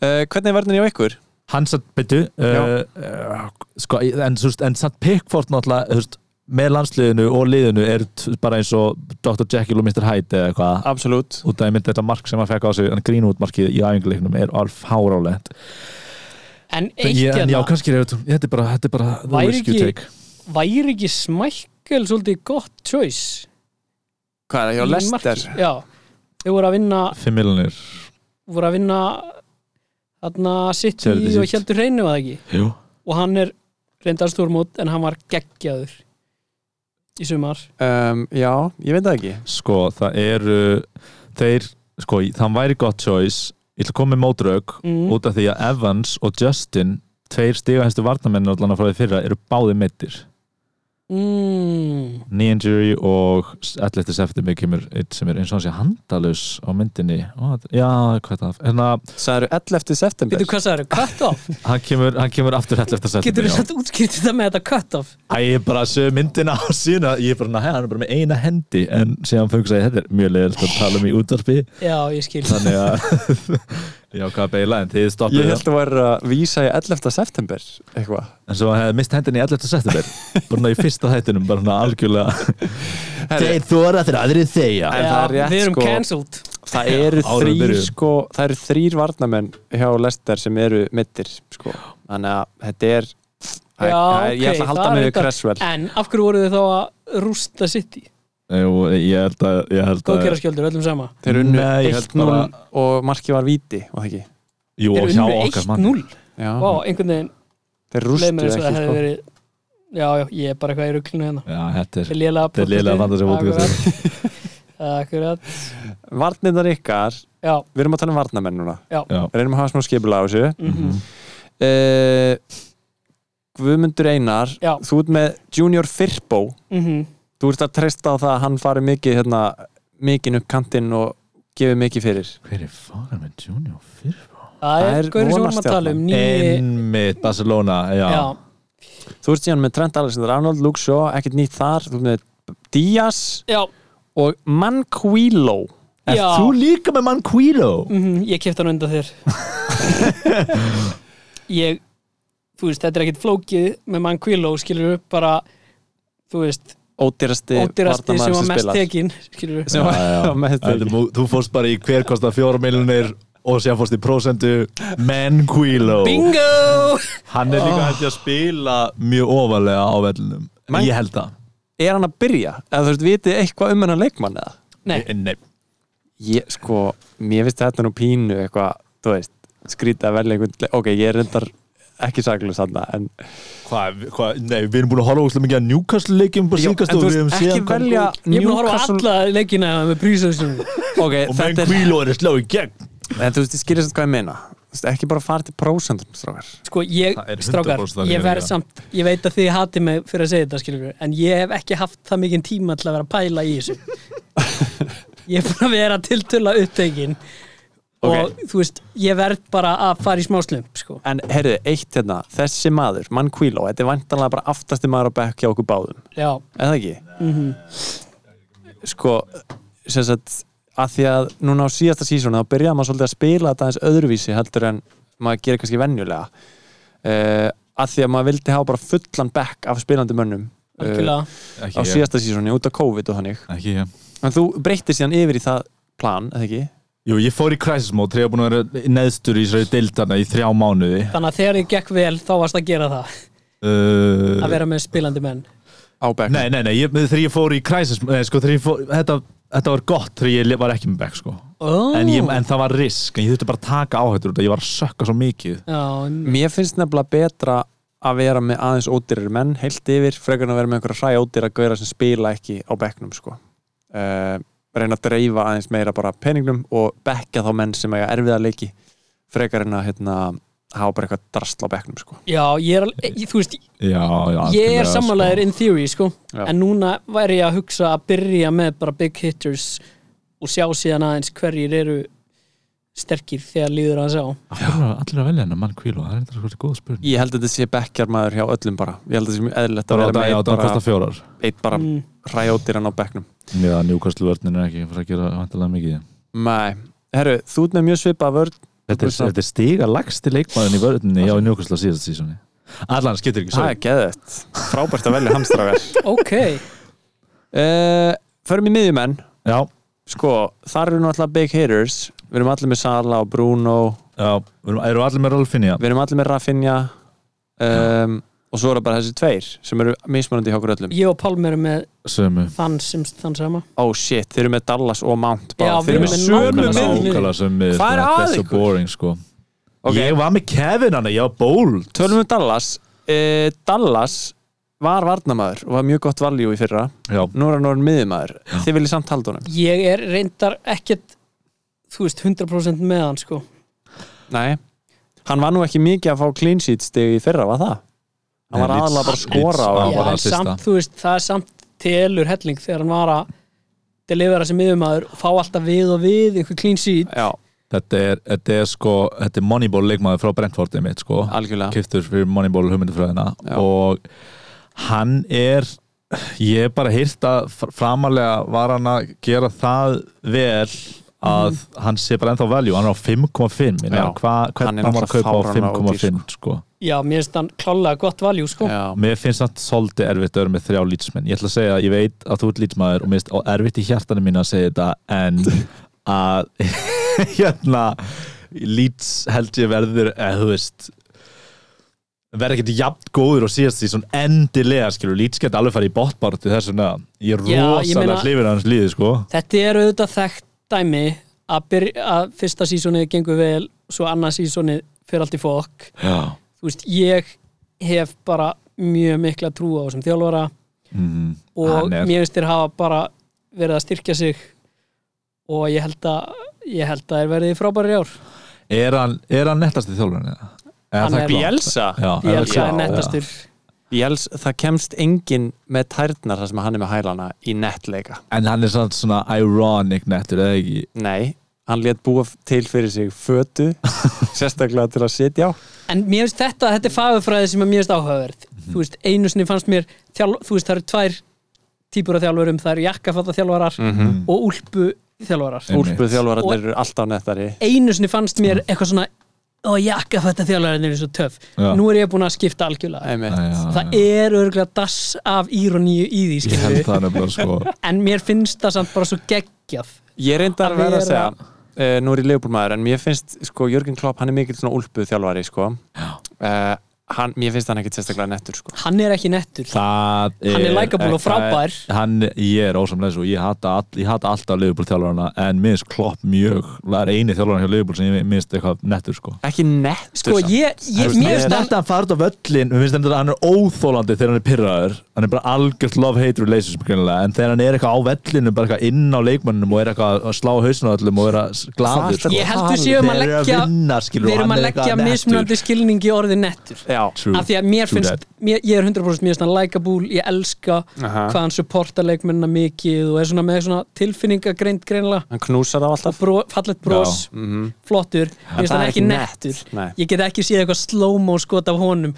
Speaker 2: uh, hvernig er verðin hjá ykkur?
Speaker 3: Hann satt, byrju uh, uh, sko, En, þú veist, en satt Pickford náttúrulega þú veist, með landsliðinu og liðinu er t- bara eins og Dr. Jekyll og Mr. Hyde eða eitthvað
Speaker 2: Absolutt
Speaker 3: út af einmitt þetta mark sem hann fekk á sig en grínútmarkið í æfinguleiknum er alfárálegt
Speaker 4: en eitt
Speaker 3: ég, en já,
Speaker 4: hérna,
Speaker 3: kannski er þetta þetta er bara, þetta er bara the
Speaker 4: Væri
Speaker 3: risk you
Speaker 4: ekki-
Speaker 3: take.
Speaker 4: væri ekki Smækkel svolítið gott choice
Speaker 2: Hvað er það hjá
Speaker 4: í
Speaker 2: Lester?
Speaker 4: markið? já, þau voru að vinna
Speaker 3: 5 miljonir
Speaker 4: voru að vinna þarna City
Speaker 3: Charity
Speaker 4: og
Speaker 3: City.
Speaker 4: heldur hreinu að ekki
Speaker 3: Jú.
Speaker 4: og hann er reyndar stórmót en hann var geggjaður í sumar
Speaker 2: Um, já, ég veit það ekki
Speaker 3: sko, það eru þeir, sko, þann væri gott choice ég ætla að koma með mótraug
Speaker 4: mm.
Speaker 3: út af því að Evans og Justin tveir stigahæstu varnamenn allan að frá því fyrra eru báði meittir
Speaker 4: mm.
Speaker 3: knee injury og 11. september kemur eitt sem er eins og hans ég handalus á myndinni Ó, þetta- já, hvað er það hérna,
Speaker 2: Sæður 11. september
Speaker 4: Veitu hvað það eru? Cut off?
Speaker 3: hann, kemur, hann kemur aftur 11.
Speaker 4: Getur
Speaker 3: september
Speaker 4: þú
Speaker 3: já.
Speaker 4: satt útskýrt þetta með þetta cut off?
Speaker 3: Æ, ég er bara að sögja myndina á sína ég er bara, næ, hann er bara með eina hendi en síðan fengið þetta er mjög leiðilegt að tala um í útvarpi
Speaker 4: Já, ég skil
Speaker 3: þannig að já, hvað að beila, en þið stoppið
Speaker 2: Ég
Speaker 3: það.
Speaker 2: held að vera að vísa í 11. september eitthvað
Speaker 3: en svo hann hefði mist hendinni í 11. september bara svona í fyrsta þættinum, bara svona algjörlega
Speaker 2: Herri,
Speaker 3: þóra þegar aðrið þegja
Speaker 2: En það
Speaker 4: Já,
Speaker 2: er rétt,
Speaker 4: Við erum
Speaker 2: sko.
Speaker 4: cancelled
Speaker 2: það eru
Speaker 3: áður en
Speaker 2: þrýr
Speaker 3: byrjuðum.
Speaker 2: sko, það eru þrýr varnamenn hjá Lester sem eru mittir sko. þannig að þetta er Æ,
Speaker 4: Já,
Speaker 2: æ, ég
Speaker 4: ok,
Speaker 2: ætla að
Speaker 4: það
Speaker 2: halda
Speaker 4: er
Speaker 2: mig við
Speaker 4: þetta-
Speaker 2: Cresswell
Speaker 4: En af hverju voru þið þá að rústa City?
Speaker 3: ég held að, ég held að
Speaker 4: Góðkjara skjöldur, öllum sama
Speaker 2: þeir unnu
Speaker 3: Nei, ég held
Speaker 2: 1-0
Speaker 3: bara-
Speaker 2: og markið var víti og það ekki
Speaker 3: jú,
Speaker 4: Þeir
Speaker 3: og hjá
Speaker 4: unnu
Speaker 3: okkar mann
Speaker 4: 1-0
Speaker 2: Já,
Speaker 4: Vá, einhvern veginn
Speaker 2: þeir
Speaker 4: leið
Speaker 2: rústu
Speaker 4: mér eins og
Speaker 2: ekki
Speaker 4: það hefði
Speaker 2: sko.
Speaker 4: verið Já, já, ég er bara eitthvað í rugglinu hérna
Speaker 3: já, þetta
Speaker 4: Þetta
Speaker 3: er
Speaker 4: er lélega
Speaker 3: Þetta er lélega vanda sem fótbolti.
Speaker 4: Akkurat
Speaker 2: varnirnar ykkar,
Speaker 4: Já,
Speaker 2: við erum að tala um varnamenn núna
Speaker 3: já,
Speaker 2: reynum að hafa smá skipula á þessu
Speaker 4: mhm
Speaker 2: uh, Guðmundur Einar
Speaker 4: Já.
Speaker 2: þú ert með Junior Firpo
Speaker 4: mhm
Speaker 2: þú ert að treysta á það að hann fari mikið hérna, mikið upp kantinn og gefið mikið fyrir
Speaker 3: hver er faran með Junior Firpo?
Speaker 4: Það
Speaker 2: Það
Speaker 4: er
Speaker 2: er
Speaker 4: gaurið sem vorum að tala um nýi
Speaker 3: einmitt Barcelona, já,
Speaker 4: Já,
Speaker 2: Þú ert síðan með Trent Alexander-Arnold, Luke Shaw, ekkert nýtt þar Þú ert með Díaz
Speaker 4: já,
Speaker 2: og Manquillo
Speaker 3: Er
Speaker 4: já
Speaker 3: þú líka með mann Quilo?
Speaker 4: Mhm, Ég kefti hann undan þér Ég Þú veist, þetta er ekkit flókið með mann Quillo skilur upp bara þú veist,
Speaker 2: Ódýrasti
Speaker 4: ódýrasti sem
Speaker 2: varnarmaður
Speaker 4: var mest
Speaker 2: spilar.
Speaker 4: tekin skilur
Speaker 2: Sem var- var mest
Speaker 3: Þetta er
Speaker 2: tekin.
Speaker 3: mú- þú fórst bara í hver kostar fjóra miljonir og sér fórst í prósendu menn Quilo
Speaker 4: Bingo!
Speaker 3: hann er líka hægt að spila mjög ofalega á vellinum
Speaker 2: Man-
Speaker 3: ég held það
Speaker 2: Er hann að byrja? Eða þú veist, vitið eitthvað um hennar leikmann eða?
Speaker 4: Nei,
Speaker 3: Nei. Nei.
Speaker 2: Ég, sko, mér finnst þetta nú pínu eitthvað, þú veist, skrýta að velja einhvern leik- Ok, ég er reyndar ekki saklus hann en,
Speaker 3: Hvað, hva, nei, við erum búin að horfa úrslega mikið að Newcastle leikjum bara
Speaker 2: Já, en
Speaker 3: síðkast og
Speaker 2: þú
Speaker 3: við
Speaker 2: veist,
Speaker 3: hefum
Speaker 2: ekki
Speaker 3: séðan kom-
Speaker 2: velja
Speaker 4: um ég er búin að horfa á
Speaker 2: Newcastle-
Speaker 4: alla leikina með prísöðsum
Speaker 2: Ok,
Speaker 3: og
Speaker 2: þetta
Speaker 3: menn
Speaker 2: er,
Speaker 3: Quilo er að slá í gegn
Speaker 2: en þú veist, ég skýrist hvað ég meina Þú veist, Ekki bara fara til prósentum, strákar
Speaker 4: Sko, ég,
Speaker 3: Það er 100%
Speaker 4: strákar,
Speaker 3: þannig,
Speaker 4: ég verð
Speaker 3: já.
Speaker 4: samt ég veit að þið hatið mig fyrir að segja þetta skilur við, en ég hef ekki haft það mikinn tíma til að vera að pæla í þessu ég er búin að vera tiltöla upptekin og þú veist, ég verð bara að fara í smáslump sko.
Speaker 2: En heyrðu, eitt hérna, þessi maður, mann Quilo, þetta er vantanlega bara aftasti maður á bekk hjá okkur báðum,
Speaker 4: Já,
Speaker 2: er það ekki? Sko, sem sagt, að því að núna á síðasta sísónu þá byrjaði maður svolítið að spila þetta aðeins öðruvísi heldur en maður gerir kannski venjulega. Uh, að því að maður vildi hafa bara fullan bekk af spilandi mönnum uh,
Speaker 4: algjörlega
Speaker 3: Eh.
Speaker 2: á síðasta sísónu út af COVID og þannig.
Speaker 3: ekki ég
Speaker 2: En þú breyttir síðan yfir í það plan, eða ekki?
Speaker 3: Jú, ég fór í crisis mode, þegar ég var búin að vera neðstur í þessari deildana í þrjá mánuði
Speaker 4: þannig að þegar ég gekk vel, þá varst að gera það
Speaker 3: uh,
Speaker 4: að vera með spilandi menn
Speaker 2: Á bekk.
Speaker 3: Nei, nei, nei, ég, þegar ég fór í crisis nei, sko, þegar ég fór, þetta, þetta var gott þegar ég le- var ekki með back sko.
Speaker 4: oh.
Speaker 3: en, ég, en það var risk, en ég þurfti bara að taka áhættur út af, ég var að sökka svo mikið
Speaker 4: Já, en-
Speaker 2: Mér finnst nefnilega betra að vera með aðeins ódýrir menn heilt yfir, frekar en að vera með einhverja hræ ódýra gauðra sem spila ekki á bekknum sko. uh, reyna að dreifa aðeins meira bara peningnum og bekka þá menn sem eiga erfiða leiki frekar en að hérna, hafa bara eitthvað drastl á bekknum sko.
Speaker 4: já, ég er alveg, ég- þú veist,
Speaker 3: Já, já,
Speaker 4: ég
Speaker 3: algjörlega,
Speaker 4: er sammálaður in theory sko.
Speaker 2: Já.
Speaker 4: en núna væri ég að hugsa að byrja með bara big hitters og sjá síðan aðeins hverjir eru sterkir þegar líður að sjá
Speaker 3: Af hverju eru Allir að velja hennar mann kvílu, það er eitthvað svolítið góð spurning
Speaker 2: ég held að þetta sé bekkjar maður hjá öllum bara ég held að þetta sé mjög eðlilegt að
Speaker 3: Það
Speaker 2: vera með
Speaker 3: er
Speaker 2: eitt
Speaker 3: að
Speaker 2: bara,
Speaker 3: kosta fjórar
Speaker 2: eitt bara
Speaker 4: Mm.
Speaker 2: hræ ódýran á bekknum
Speaker 3: Já, njúkastlu vörnin er ekki að fara að gera vantilega mikið
Speaker 2: Nei, herru, þú ert með mjög svipað vörn
Speaker 3: Þetta er,
Speaker 2: Þú veist það.
Speaker 3: þetta er stiga lagsti leikmaðin í vörninni Já, njúkastlu síðast sísoni Allan skiptir ekki
Speaker 2: Það er
Speaker 3: svo
Speaker 2: geðvægt Frábært að velja hamstrágar
Speaker 4: ok
Speaker 2: uh, Förum í miðjumenn
Speaker 3: Já,
Speaker 2: Sko, þar eru náttúrulega big hitters Við erum allir með Sala og Bruno
Speaker 3: já, við erum- eru allir með Rolfinja
Speaker 2: Við erum allir með Rafinha um, Og svo eru bara þessi tveir Sem eru mismunandi hjá okkur öllum
Speaker 4: ég og Pálmi eru með
Speaker 3: Sömu
Speaker 4: þann sem þann sama
Speaker 2: Oh shit, þeir eru með Dallas og Mount bara.
Speaker 4: Já,
Speaker 2: Þeir eru
Speaker 4: við
Speaker 2: með
Speaker 4: erum með
Speaker 2: sömu
Speaker 4: nákvæmlega
Speaker 2: miðjum
Speaker 3: Nákvæmlega sömu
Speaker 2: Hvað er að
Speaker 3: Þetta er svo
Speaker 2: ykkur?
Speaker 3: boring sko
Speaker 2: Ok,
Speaker 3: Ég var með Kevin hann, ég var bold
Speaker 2: tölum við Dallas uh, Dallas var varnamaður og var mjög gott valjú í fyrra
Speaker 3: Já,
Speaker 2: Nú er hann orðin miðjumaður Þið viljið samt halda honum
Speaker 4: ég er reyndar ekkert þú veist 100% með hann sko
Speaker 2: Nei, hann var nú ekki mikið að fá clean sheet stig í fyrra, var það? Hann
Speaker 3: Nei,
Speaker 2: var
Speaker 3: Leeds-
Speaker 2: aðalega bara að skora
Speaker 3: Leeds-
Speaker 2: á
Speaker 3: Já,
Speaker 4: Já,
Speaker 3: bara
Speaker 4: en
Speaker 3: það fyrsta.
Speaker 4: samt, þú veist, það er samt telur helling þegar hann var að delivera sem yfirmaður og fá alltaf við og við einhver clean sheet
Speaker 2: Já,
Speaker 3: þetta er, þetta er sko Þetta er Moneyball leikmaður frá Brentfordið mitt sko
Speaker 2: algjörlega
Speaker 3: kiftur fyrir Moneyball hugmyndufræðina
Speaker 2: Já.
Speaker 3: og hann er ég hef bara hýrt að fr- framarlega var hann að gera það vel að hann sé bara ennþá value, hann er á 5,5 ég meina,
Speaker 2: Mhm. Já.
Speaker 3: hvað
Speaker 2: Hann er
Speaker 3: hann var að
Speaker 2: náttúrulega
Speaker 3: kaupa á
Speaker 2: fáránlega ódýr,
Speaker 3: 5,5 sko.
Speaker 4: Já, mér finnst hann klálega gott valjú, sko
Speaker 2: Já,
Speaker 3: mér finnst það svolítið erfitt að vera með þrjá lýtsmenn ég ætla að segja að ég veit að þú ert lýtsmaður og mér finnst á- erfitt í hjartanum mín að segja þetta en að hérna lýts held ég verður eða þú veist verður ekkert jafn góður og síðast því svona endilega skilur, lýts geta alveg farið í botbártu þess vegna, ég er
Speaker 4: Já, ég
Speaker 3: rosalega
Speaker 4: meina-
Speaker 3: hlifin hans líði sko
Speaker 4: Þetta er auðvitað þekkt dæmi að, byrja, að fyrsta sísonið gengur vel svo annað sísonið fyrir allt í fokk
Speaker 3: já,
Speaker 4: Þú veist, ég hef bara mjög mikla trú á þessum þjálfara
Speaker 3: mm,
Speaker 4: og
Speaker 3: Hann er-
Speaker 4: mér finnst þér hafa bara verið að styrkja sig og ég held að ég held að þér verðið frábæri ár
Speaker 3: er hann, er hann nettast í þjólunni?
Speaker 4: Hann er-
Speaker 2: Bielsa
Speaker 3: já,
Speaker 4: Ég
Speaker 3: er
Speaker 4: held að
Speaker 3: það
Speaker 4: er
Speaker 3: klárt?
Speaker 4: nettastur
Speaker 2: Biels, það kemst enginn með tærnar þar sem hann er með hælana í nettleika
Speaker 3: en hann er samt svona ironic nettur eða ekki
Speaker 2: Nei, hann let búa til fyrir sig fötu sérstaklega til að sitja á
Speaker 4: En mér finnst þetta, þetta er fagurfræði sem er mjög áhugaverð
Speaker 3: Mhm.
Speaker 4: Þú veist, einu sinni fannst mér þjál, Þú veist, það eru tvær típur af þjálfurum Það eru jakkafata þjálfarar
Speaker 3: Mhm.
Speaker 4: og úlpu þjálfarar
Speaker 3: Einmitt.
Speaker 2: Úlpuð
Speaker 4: Og-
Speaker 2: þjálfararnir eru alltaf nettari
Speaker 4: Einu sinni fannst
Speaker 3: Mm.
Speaker 4: mér eitthvað svona Ó, jakkafata þjálfararnir eru svo töff
Speaker 3: Já.
Speaker 4: Nú er ég búin að skipta algjörlega
Speaker 2: Einmitt.
Speaker 3: Já, já.
Speaker 4: Það er örgulega dass af íroníu í því
Speaker 3: ég
Speaker 4: skilur
Speaker 3: held
Speaker 4: við
Speaker 3: það nefnilega sko
Speaker 4: En mér finnst það samt bara svo geggjað
Speaker 2: Ég reyndar
Speaker 4: Að
Speaker 2: að vera að
Speaker 4: vera-
Speaker 2: segja uh, Nú er ég leifbúrmaður en mér finnst sko, Jörgen Klopp, hann er mikill svona úlpuð þjálfari sko. uh, hann, Mér finnst hann ekkit sérstaklega nettur sko.
Speaker 4: Hann er ekki nettur
Speaker 3: Það er,
Speaker 4: Hann er likeable og frábær.
Speaker 3: það er- Hann, ég er ósamlega svo, ég hata, all, ég hata alltaf Liverpool þjálfarana en minnst Klopp mjög, það er eini þjálfarana hjá Liverpool sem ég minnst eitthvað nettur sko
Speaker 2: Ekki nettur
Speaker 4: Sko,
Speaker 2: samt.
Speaker 4: ég, ég, mér finnst hann
Speaker 3: Þetta hann farið á völlin, við finnst þetta að hann er óþólandi þegar hann er pyrraður, hann er bara algjört love-hate relationship greinilega, en þegar hann er eitthvað á vellinu, bara eitthvað inn á leikmannum og er eitthvað að slá hausinu öllum og er að s- glaður
Speaker 2: Hvað ertu
Speaker 3: sko.
Speaker 4: Ég held við séum að
Speaker 3: Þeir eru
Speaker 4: leggja-
Speaker 3: vinna, skilur,
Speaker 4: Við
Speaker 3: og
Speaker 4: erum
Speaker 3: hann
Speaker 4: að leggja
Speaker 3: er eitthvað nettur.
Speaker 4: mismunandi skilningi í orðið nettur
Speaker 2: Já,
Speaker 3: True.
Speaker 4: af því að mér
Speaker 3: True
Speaker 4: finnst,
Speaker 3: that.
Speaker 4: mér, ég er 100% mér finnst hann likeable, ég elska
Speaker 2: Aha.
Speaker 4: hvað hann supporta leikmennina mikið og er svona með svona tilfinningagreind greinlega
Speaker 2: hann knúsar á alltaf
Speaker 4: bro, fallet bros, flottur mér finnst
Speaker 2: Mhm. það
Speaker 4: hann
Speaker 2: er
Speaker 4: ekki
Speaker 2: ekki
Speaker 4: nettur
Speaker 2: nett, nei.
Speaker 4: ég get ekki séð eitthvað slow-mo skot af honum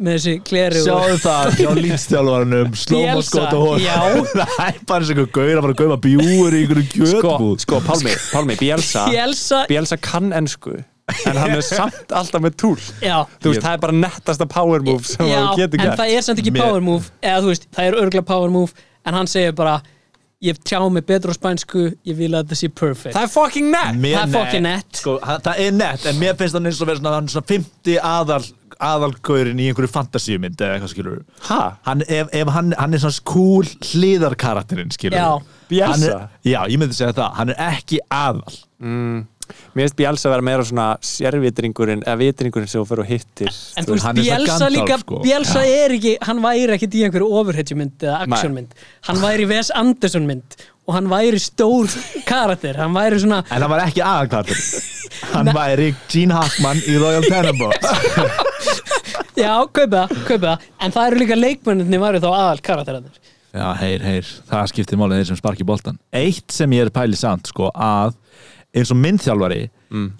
Speaker 4: með þessi kleri og
Speaker 3: Sjáðu það hjá lýtstjálvaranum Slóm og
Speaker 4: Bielsa,
Speaker 3: skot á hón
Speaker 4: já.
Speaker 3: Það er bara eins og einhver gaur að fara að gauma bjúur í einhverju
Speaker 2: Sko,
Speaker 3: kjötbúð
Speaker 2: sko Pálmi, Pálmi, Bielsa
Speaker 4: ég elsa,
Speaker 2: Bielsa kann ensku en hann er samt alltaf með túl
Speaker 4: já
Speaker 2: þú veist, það er bara nettasta power move sem
Speaker 4: já,
Speaker 2: þú getur
Speaker 4: en
Speaker 2: gert
Speaker 4: það er samt ekki
Speaker 3: Mér-
Speaker 4: power move eða þú veist, það er örgla power move en hann segir bara, ég tjá mig betur á spænsku, ég vil að þetta sé perfect
Speaker 2: það er fucking nett
Speaker 3: Mér
Speaker 4: það er
Speaker 3: net-
Speaker 4: fucking nett.
Speaker 3: sko, hann- Það er nett, en mér finnst hann eins og verið svona, hann er svona 50 aðal aðalgaurin í einhverju fantasíumynd eða eitthvað skilur
Speaker 2: ha?
Speaker 3: hann, ef, ef hann, hann er svona cool hliðarkarakterinn skilur
Speaker 4: Já.
Speaker 2: Bielsa.
Speaker 3: Já, ég myndi segja það, hann er ekki aðal
Speaker 2: mér finnst Bielsa vera meira svona sérvitringurinn eða vitringurinn sem þú fyrir og hittir
Speaker 4: En
Speaker 3: Þú
Speaker 4: þú veist,
Speaker 3: veist, hann er svona
Speaker 4: Bielsa
Speaker 3: Gandalf,
Speaker 4: líka,
Speaker 3: sko.
Speaker 4: Bielsa er ekki, hann væri ekkit í einhverju ofurhetjumynd eða actionmynd Hann væri Wes Anderson mynd og hann væri stór karakter, hann væri svona,
Speaker 3: En hann var ekki aðalkarakterinn Hann væri Gene Hackman í Royal Tenenbaums
Speaker 4: já, kaupa það, kaupa það En það eru líka leikmennirni væri þá aðal karakterarnir
Speaker 3: Já, heyr, heyr, það skiptir málið þeir sem sparki boltan Eitt sem ég er pælið samt, sko, að eins og minn þjálfari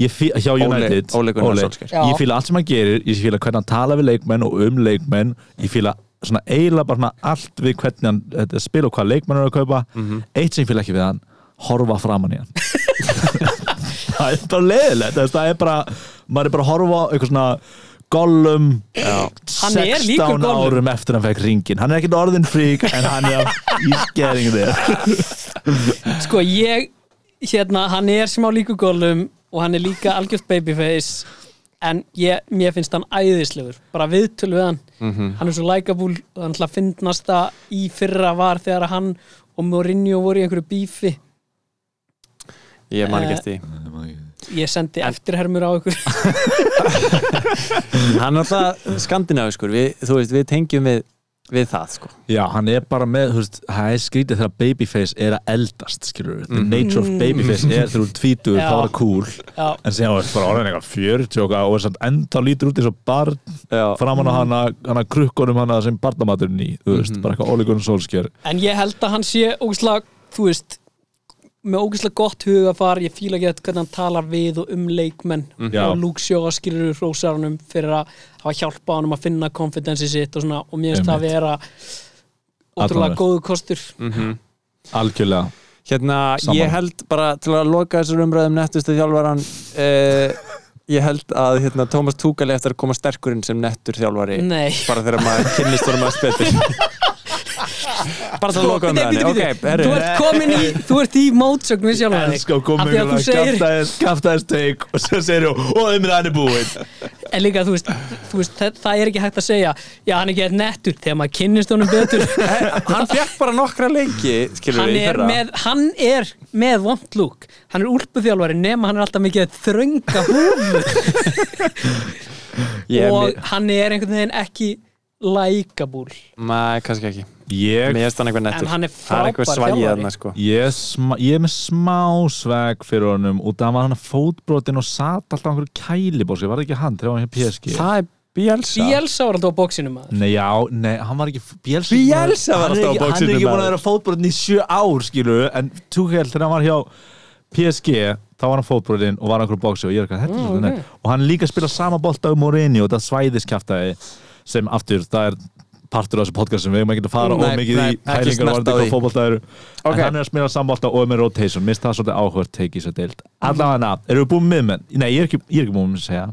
Speaker 3: ég fí- hjá
Speaker 2: Mm. Óli-
Speaker 3: United
Speaker 2: Óli Gunnar Solskjaer.
Speaker 4: Já.
Speaker 3: ég fíla allt sem hann gerir, ég fíla hvernig hann tala við leikmenn og um leikmenn, ég fíla svona eiginlega bara svona allt við hvernig hann þetta, spila og hvað leikmenn eru að kaupa
Speaker 2: Mhm.
Speaker 3: eitt sem ég fíla ekki við hann, horfa framan í hann það er bara leðilegt það er bara, maður er bara að horfa á eitthvað svona Gollum
Speaker 4: Hann er
Speaker 3: 16
Speaker 4: líkur Gollum.
Speaker 3: árum eftir hann fekk ringin hann er ekkert orðin frík en hann er í skering þér
Speaker 4: Sko ég, hérna, hann er smá líku gólum og hann er líka algjört babyface en ég, mér finnst hann æðislegur bara viðtöl við hann hann er svo likeable og hann hlað finnast að í fyrra var þegar hann og Mourinho voru í einhverju bífi
Speaker 2: ég
Speaker 4: Eh.
Speaker 2: man ekki eftir því.
Speaker 4: ég sendi eftirhermur á ykkur
Speaker 2: hann er alltaf skandinaviskur við, þú veist, við tengjum við, við það sko.
Speaker 3: já, hann er bara með, þú veist, það er skrítið þegar babyface er að eldast, skilur the nature of babyface er þegar þú tvítur
Speaker 4: Já.
Speaker 3: þá er það cool,
Speaker 4: Já.
Speaker 3: en síðan var bara orðin eitthvað 40 og eitthvað og þess að enda lítur út eins og barn
Speaker 2: Já.
Speaker 3: framan á hana, hana krukkunum hana sem barnamaturinn í, þú veist, bara eitthvað ólíkunum sólskjör
Speaker 4: en ég held að hann sé ógislega, þú veist með ógislega gott hugafar, ég fíla ekki þetta hvernig hann talar við og um leikmenn
Speaker 3: Mhm. Já.
Speaker 4: og Luke Sjóa skilur hrósarunum fyrir að hafa hjálpa honum að finna konfidensi sitt og svona, og mér finnst það að
Speaker 3: Einmitt.
Speaker 4: vera ótrúlega
Speaker 3: Athugavert. Mhm.
Speaker 4: góðu kostur
Speaker 3: algjörlega
Speaker 2: hérna,
Speaker 3: Sammála.
Speaker 2: ég held bara til að loka um þessar umræðum nettustu þjálfaran eh, ég held að hérna, Thomas Tuchel eftir að koma sterkurinn sem nettur þjálfari
Speaker 4: Nei,
Speaker 2: bara þegar maður kynnist honum að spiltir bara til að loka um
Speaker 4: Sko, Bíddu,
Speaker 2: það
Speaker 4: bíddu,
Speaker 2: ok,
Speaker 4: bíddu. þú
Speaker 2: herri,
Speaker 4: ert komin í þú ert í mótsögn við sjálf
Speaker 3: elska að koma
Speaker 4: af því að þú segir,
Speaker 3: kaftaðist teik og svo segir þú, og umrið hann er búinn
Speaker 4: en líka þú veist, þú veist það, það er ekki hægt að segja, já hann er ekki eitthvað nettur þegar maður kynnist honum betur
Speaker 2: hann fekk bara nokkra lengi skilur
Speaker 4: hann
Speaker 2: við í
Speaker 4: er,
Speaker 2: fyrra
Speaker 4: með, hann er með vond lúk hann er úlpuþjálfari nema hann er alltaf mikið að þrönga húfu
Speaker 2: ég,
Speaker 4: og
Speaker 2: og...
Speaker 4: hann er einhvern veginn ekki lækabúl
Speaker 2: Nei, kannski ekki
Speaker 3: ég,
Speaker 2: Mér finnst hann eitthvað nettur
Speaker 4: En hann er
Speaker 2: Það eitthvað
Speaker 4: frábær
Speaker 2: svægið
Speaker 4: þjálfari.
Speaker 2: þarna, sko.
Speaker 3: ég, sma, ég er með smá sveg fyrir honum út af að hann var hann fótbrotinn og sat alltaf á einhverju kælibósi, var það ekki hann þegar hann var hjá PSG
Speaker 2: Það er Bielsa
Speaker 4: Bielsa var alltaf á bóksinu maður
Speaker 3: Nei, já, nei, hann var ekki Bielsa,
Speaker 2: Bielsa var
Speaker 3: Hann er
Speaker 2: alltaf á
Speaker 3: ekki- Hann
Speaker 2: boxinu,
Speaker 3: er ekki búin
Speaker 2: maður.
Speaker 3: að vera fótbrotinn í sjö ár, skilu En Tuchel, þegar hann var hjá PSG Þá var hann fótbrotinn og var á einhverju bóksi Og ég er eitthvað, þetta
Speaker 2: Mm,
Speaker 3: er svolítið nett Og hann líka spila sama bolta um Mourinho Og það svæðiskjaftaði sem aftur Það er partur af þessu podcast sem við erum ekki að fara
Speaker 2: Nei,
Speaker 3: of mikið
Speaker 2: nei,
Speaker 3: í
Speaker 2: ekki
Speaker 3: pælingar
Speaker 2: snert
Speaker 3: varandi
Speaker 2: á
Speaker 3: hvað
Speaker 2: því.
Speaker 3: fótbolta eru
Speaker 2: Ok.
Speaker 3: en hann er að spila sambolta og er með rotation mist það svolítið áhvert tekið svo deilt
Speaker 2: Mhm.
Speaker 3: allavega, erum við búin með menn? Nei, ég er ekki, ég er ekki búin að segja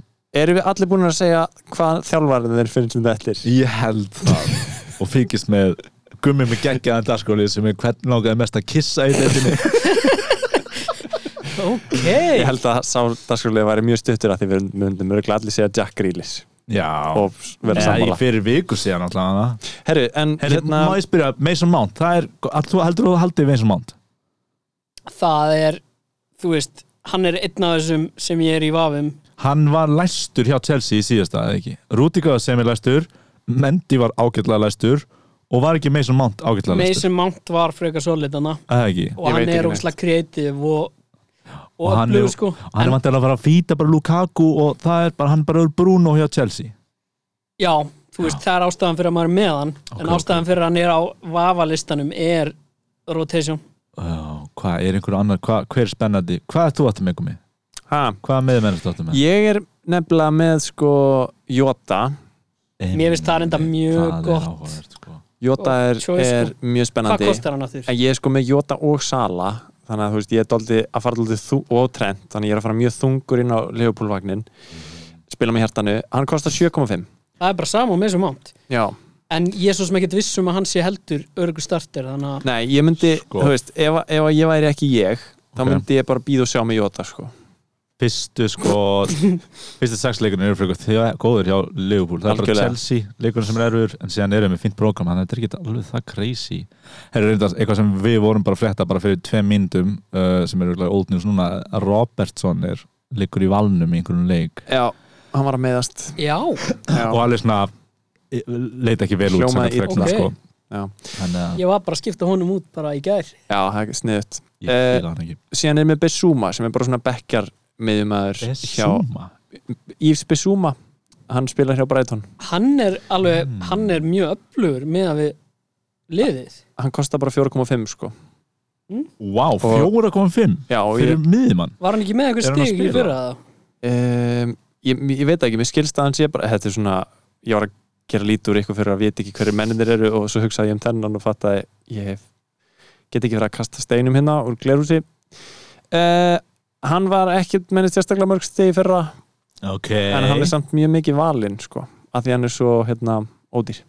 Speaker 2: Erum við allir búin að segja hvað þjálfarinn þeir finnst um nettir?
Speaker 3: Ég held það Og fylgist með gummi með geggjaðan dagskóli sem er hvern langaði mest að kissa í þetta
Speaker 4: Ok,
Speaker 2: Ég held að sá dagskjólið væri mjög stuttur að því við myndum örgulega allir segja Jack Grealish
Speaker 3: Já
Speaker 2: og
Speaker 3: Eða
Speaker 2: vera
Speaker 3: í
Speaker 2: sammála
Speaker 3: fyrir viku síðan alltaf
Speaker 2: Herru, en
Speaker 3: Herri,
Speaker 2: hérna
Speaker 3: má ég spyrja, Mason Mount Það er, að þú heldur þú að haldið í Mason Mount?
Speaker 4: það er þú veist, hann er einn af þessum sem ég er í um. vafum
Speaker 3: Hann var læstur hjá Chelsea í síðasta, eða ekki Rúdíkaða sem er læstur Mendy var ágætlega læstur Og var ekki Mason Mount ágætlega læstur
Speaker 4: Mason Mount var frekar solidana
Speaker 3: Eða ekki
Speaker 4: og
Speaker 2: Ég
Speaker 4: hann
Speaker 2: veit ekki
Speaker 4: er
Speaker 2: neitt.
Speaker 4: ógislega kreatív og, og, og
Speaker 3: hann
Speaker 4: öflugur
Speaker 3: er-
Speaker 4: sko
Speaker 3: Hann er
Speaker 4: En-
Speaker 3: vantilega að fara að fýta bara Lukaku og það er bara, hann bara er Bruno hjá Chelsea
Speaker 4: Já, þú veist, það er ástæðan fyrir að maður er með hann en ástæðan fyrir að hann er á vafalistanum er rotation
Speaker 3: Já, hvað, er einhver annar, hvað, hver er spennandi Hvað er þú áttu með gummi?
Speaker 2: ha,
Speaker 3: Hvaða meðmennast áttu með?
Speaker 2: Ég er nefnilega með sko Jota
Speaker 4: Mér finnst það enda mjög gott.
Speaker 3: sko.
Speaker 2: Jota
Speaker 4: Og
Speaker 2: er,
Speaker 4: choice,
Speaker 2: er
Speaker 4: sko.
Speaker 2: mjög
Speaker 4: Hvað
Speaker 2: spennandi
Speaker 4: kostar hann að þér?
Speaker 2: En ég er sko með Jota og Sala þannig að þú veist, ég er daldið að fara daldið þú og trend, þannig að ég er að fara mjög þungur inn á Leopoldvagnin, spila með hjartanu hann kostar 7,5
Speaker 4: Það er bara sama og með sem ámt
Speaker 2: Já,
Speaker 4: En ég er svo sem ekkert viss um að hann sé heldur örgu starter þannig að
Speaker 2: nei, ég myndi,
Speaker 3: Sko.
Speaker 2: þú veist ef, ef að ég væri ekki ég, þá
Speaker 3: Ok.
Speaker 2: myndi ég bara býða og sjá með Jota, sko
Speaker 3: Fyrstu sko Fyrstu sexleikunir eru fyrir því að góður hjá Liverpool Það er bara
Speaker 2: Algjörlega.
Speaker 3: Chelsea, leikunir sem er erfur en síðan erum við fínt program, þannig að þetta er ekki alveg það crazy Herru, reyndar, eitthvað sem við vorum bara að frétta bara fyrir tveim myndum uh, sem eru örugglega old news núna að Robertson er leikur í valnum í einhvern leik
Speaker 2: Já, hann var að meðast
Speaker 4: Já,
Speaker 2: Já,
Speaker 3: og alveg svona eh, leit ekki vel út
Speaker 2: Hljómaði
Speaker 3: samkvæmt fréttum,
Speaker 4: illa.
Speaker 3: sko.
Speaker 2: Já.
Speaker 3: Þannig að
Speaker 4: ég var bara að skipta honum út bara í gær
Speaker 2: Já það er sniðut
Speaker 3: ég fíla hann
Speaker 4: Eh,
Speaker 3: ekki
Speaker 2: Síðan er með Besuma, sem er bara svona bekkjar miðjumæður hjá
Speaker 3: Besuma
Speaker 2: Yves Besuma, hann spilar hjá Brighton
Speaker 4: Hann er alveg,
Speaker 3: Hmm.
Speaker 4: hann er mjög öflugur með að við liðið
Speaker 2: hann kostar bara 4,5 sko
Speaker 3: Vá, 4,5
Speaker 2: Já, og
Speaker 3: fyrir
Speaker 2: ég
Speaker 3: miðjumann
Speaker 4: Var hann ekki með
Speaker 3: Er hann
Speaker 4: eitthvað
Speaker 3: að
Speaker 4: stig í
Speaker 3: spila?
Speaker 4: fyrra það?
Speaker 2: um, ég, ég veit ekki, mér skilst að hann sé bara þetta er svona, ég var að gera lítur ykkur fyrir að vita ekki hverju menninir eru og svo hugsaði ég um þennan og fattaði ég hef, get ekki verið að kasta steinum hérna Eh, úr glerúsi uh, hann var ekkert mennist sérstaklega mörg stegi fyrra
Speaker 3: ok
Speaker 2: en hann er samt mjög mikið valinn sko, af því hann er svo hérna, ódýr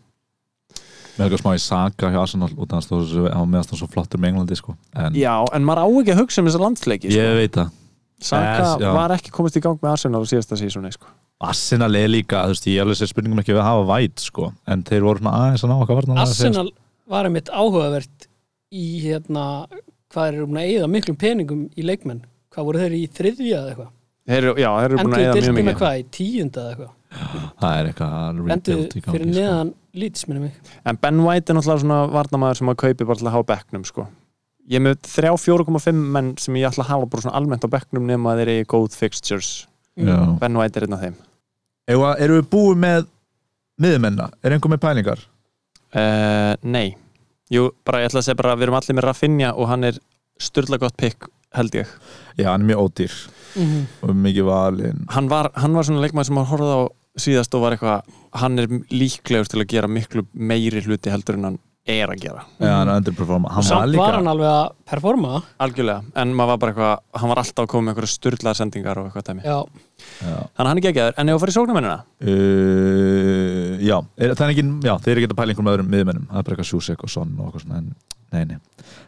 Speaker 3: með eitthvað smá í saga hjá Arsenal út af hans þó sem- hann meðast hann svo flottur með Englandi sko en
Speaker 2: já, en maður á ekki að hugsa um þessa landsleiki sko.
Speaker 3: ég veit það
Speaker 2: Saka
Speaker 3: Yes, já.
Speaker 2: var ekki komist í gang með Arsenal á síðasta sísoni sko.
Speaker 3: Arsenal er líka, þú veist, ég alveg sér spurningum ekki við að hafa væt, sko, en þeir voru svona aðeins að ná okkar varna
Speaker 4: Arsenal var einmitt áhugavert í hérna hvað er um að eyða miklum peningum í leikmenn hvað voru þeir í þriðja eða eitthvað
Speaker 2: þeir, eru- já, þeir eru búin að
Speaker 4: endur
Speaker 2: eða mjög
Speaker 4: dildina
Speaker 2: mikið
Speaker 4: hvað í tíunda eða eitthvað
Speaker 3: Það er eitthvað
Speaker 4: endur
Speaker 3: rebuild í gangi, sko.
Speaker 4: fyrir
Speaker 2: sko.
Speaker 4: neðan lítið minni mig
Speaker 2: en Ben White er náttúrulega svona varnamaður sem að kaupi bara til að hafa á bekknum sko. ég er með 3-4,5 menn sem ég ætla að hafa bara svona almennt á bekknum nema að þeir eigi góð fixtures
Speaker 3: sko. Já.
Speaker 2: Ben White er einn af þeim
Speaker 3: Eða, erum við búið með miðumenna? Er einhver með pælingar?
Speaker 2: uh, nei, Jú, bara, ég ætla að segja bara að við erum allir með Rafinha og hann er styrla gott pick held ég
Speaker 3: Já, hann er mjög ódýr
Speaker 4: Mhm.
Speaker 3: og mikið valinn
Speaker 2: hann var, hann var svona leikmaður sem maður horfði á síðast og var eitthvað, hann er líklegur til að gera miklu meiri hluti heldur en hann er að gera,
Speaker 3: Já, hann er underperforma Hann var
Speaker 4: samt
Speaker 3: líka
Speaker 4: var hann alveg að performa
Speaker 2: algjörlega en maður var bara eitthvað, hann var alltaf að koma með eitthvað styrlaðar sendingar og eitthvað dæmi,
Speaker 4: já,
Speaker 3: Já,
Speaker 2: þannig hann er geggjaður, en ef að fara í sóknarmennina
Speaker 3: uh, já. Er, það er ekki, já þeir eru ekki að pæla einhverjum öðrum miðumennum Það er bara eitthvað Sjúsek og Son og eitthvað svona en, Nei, nei,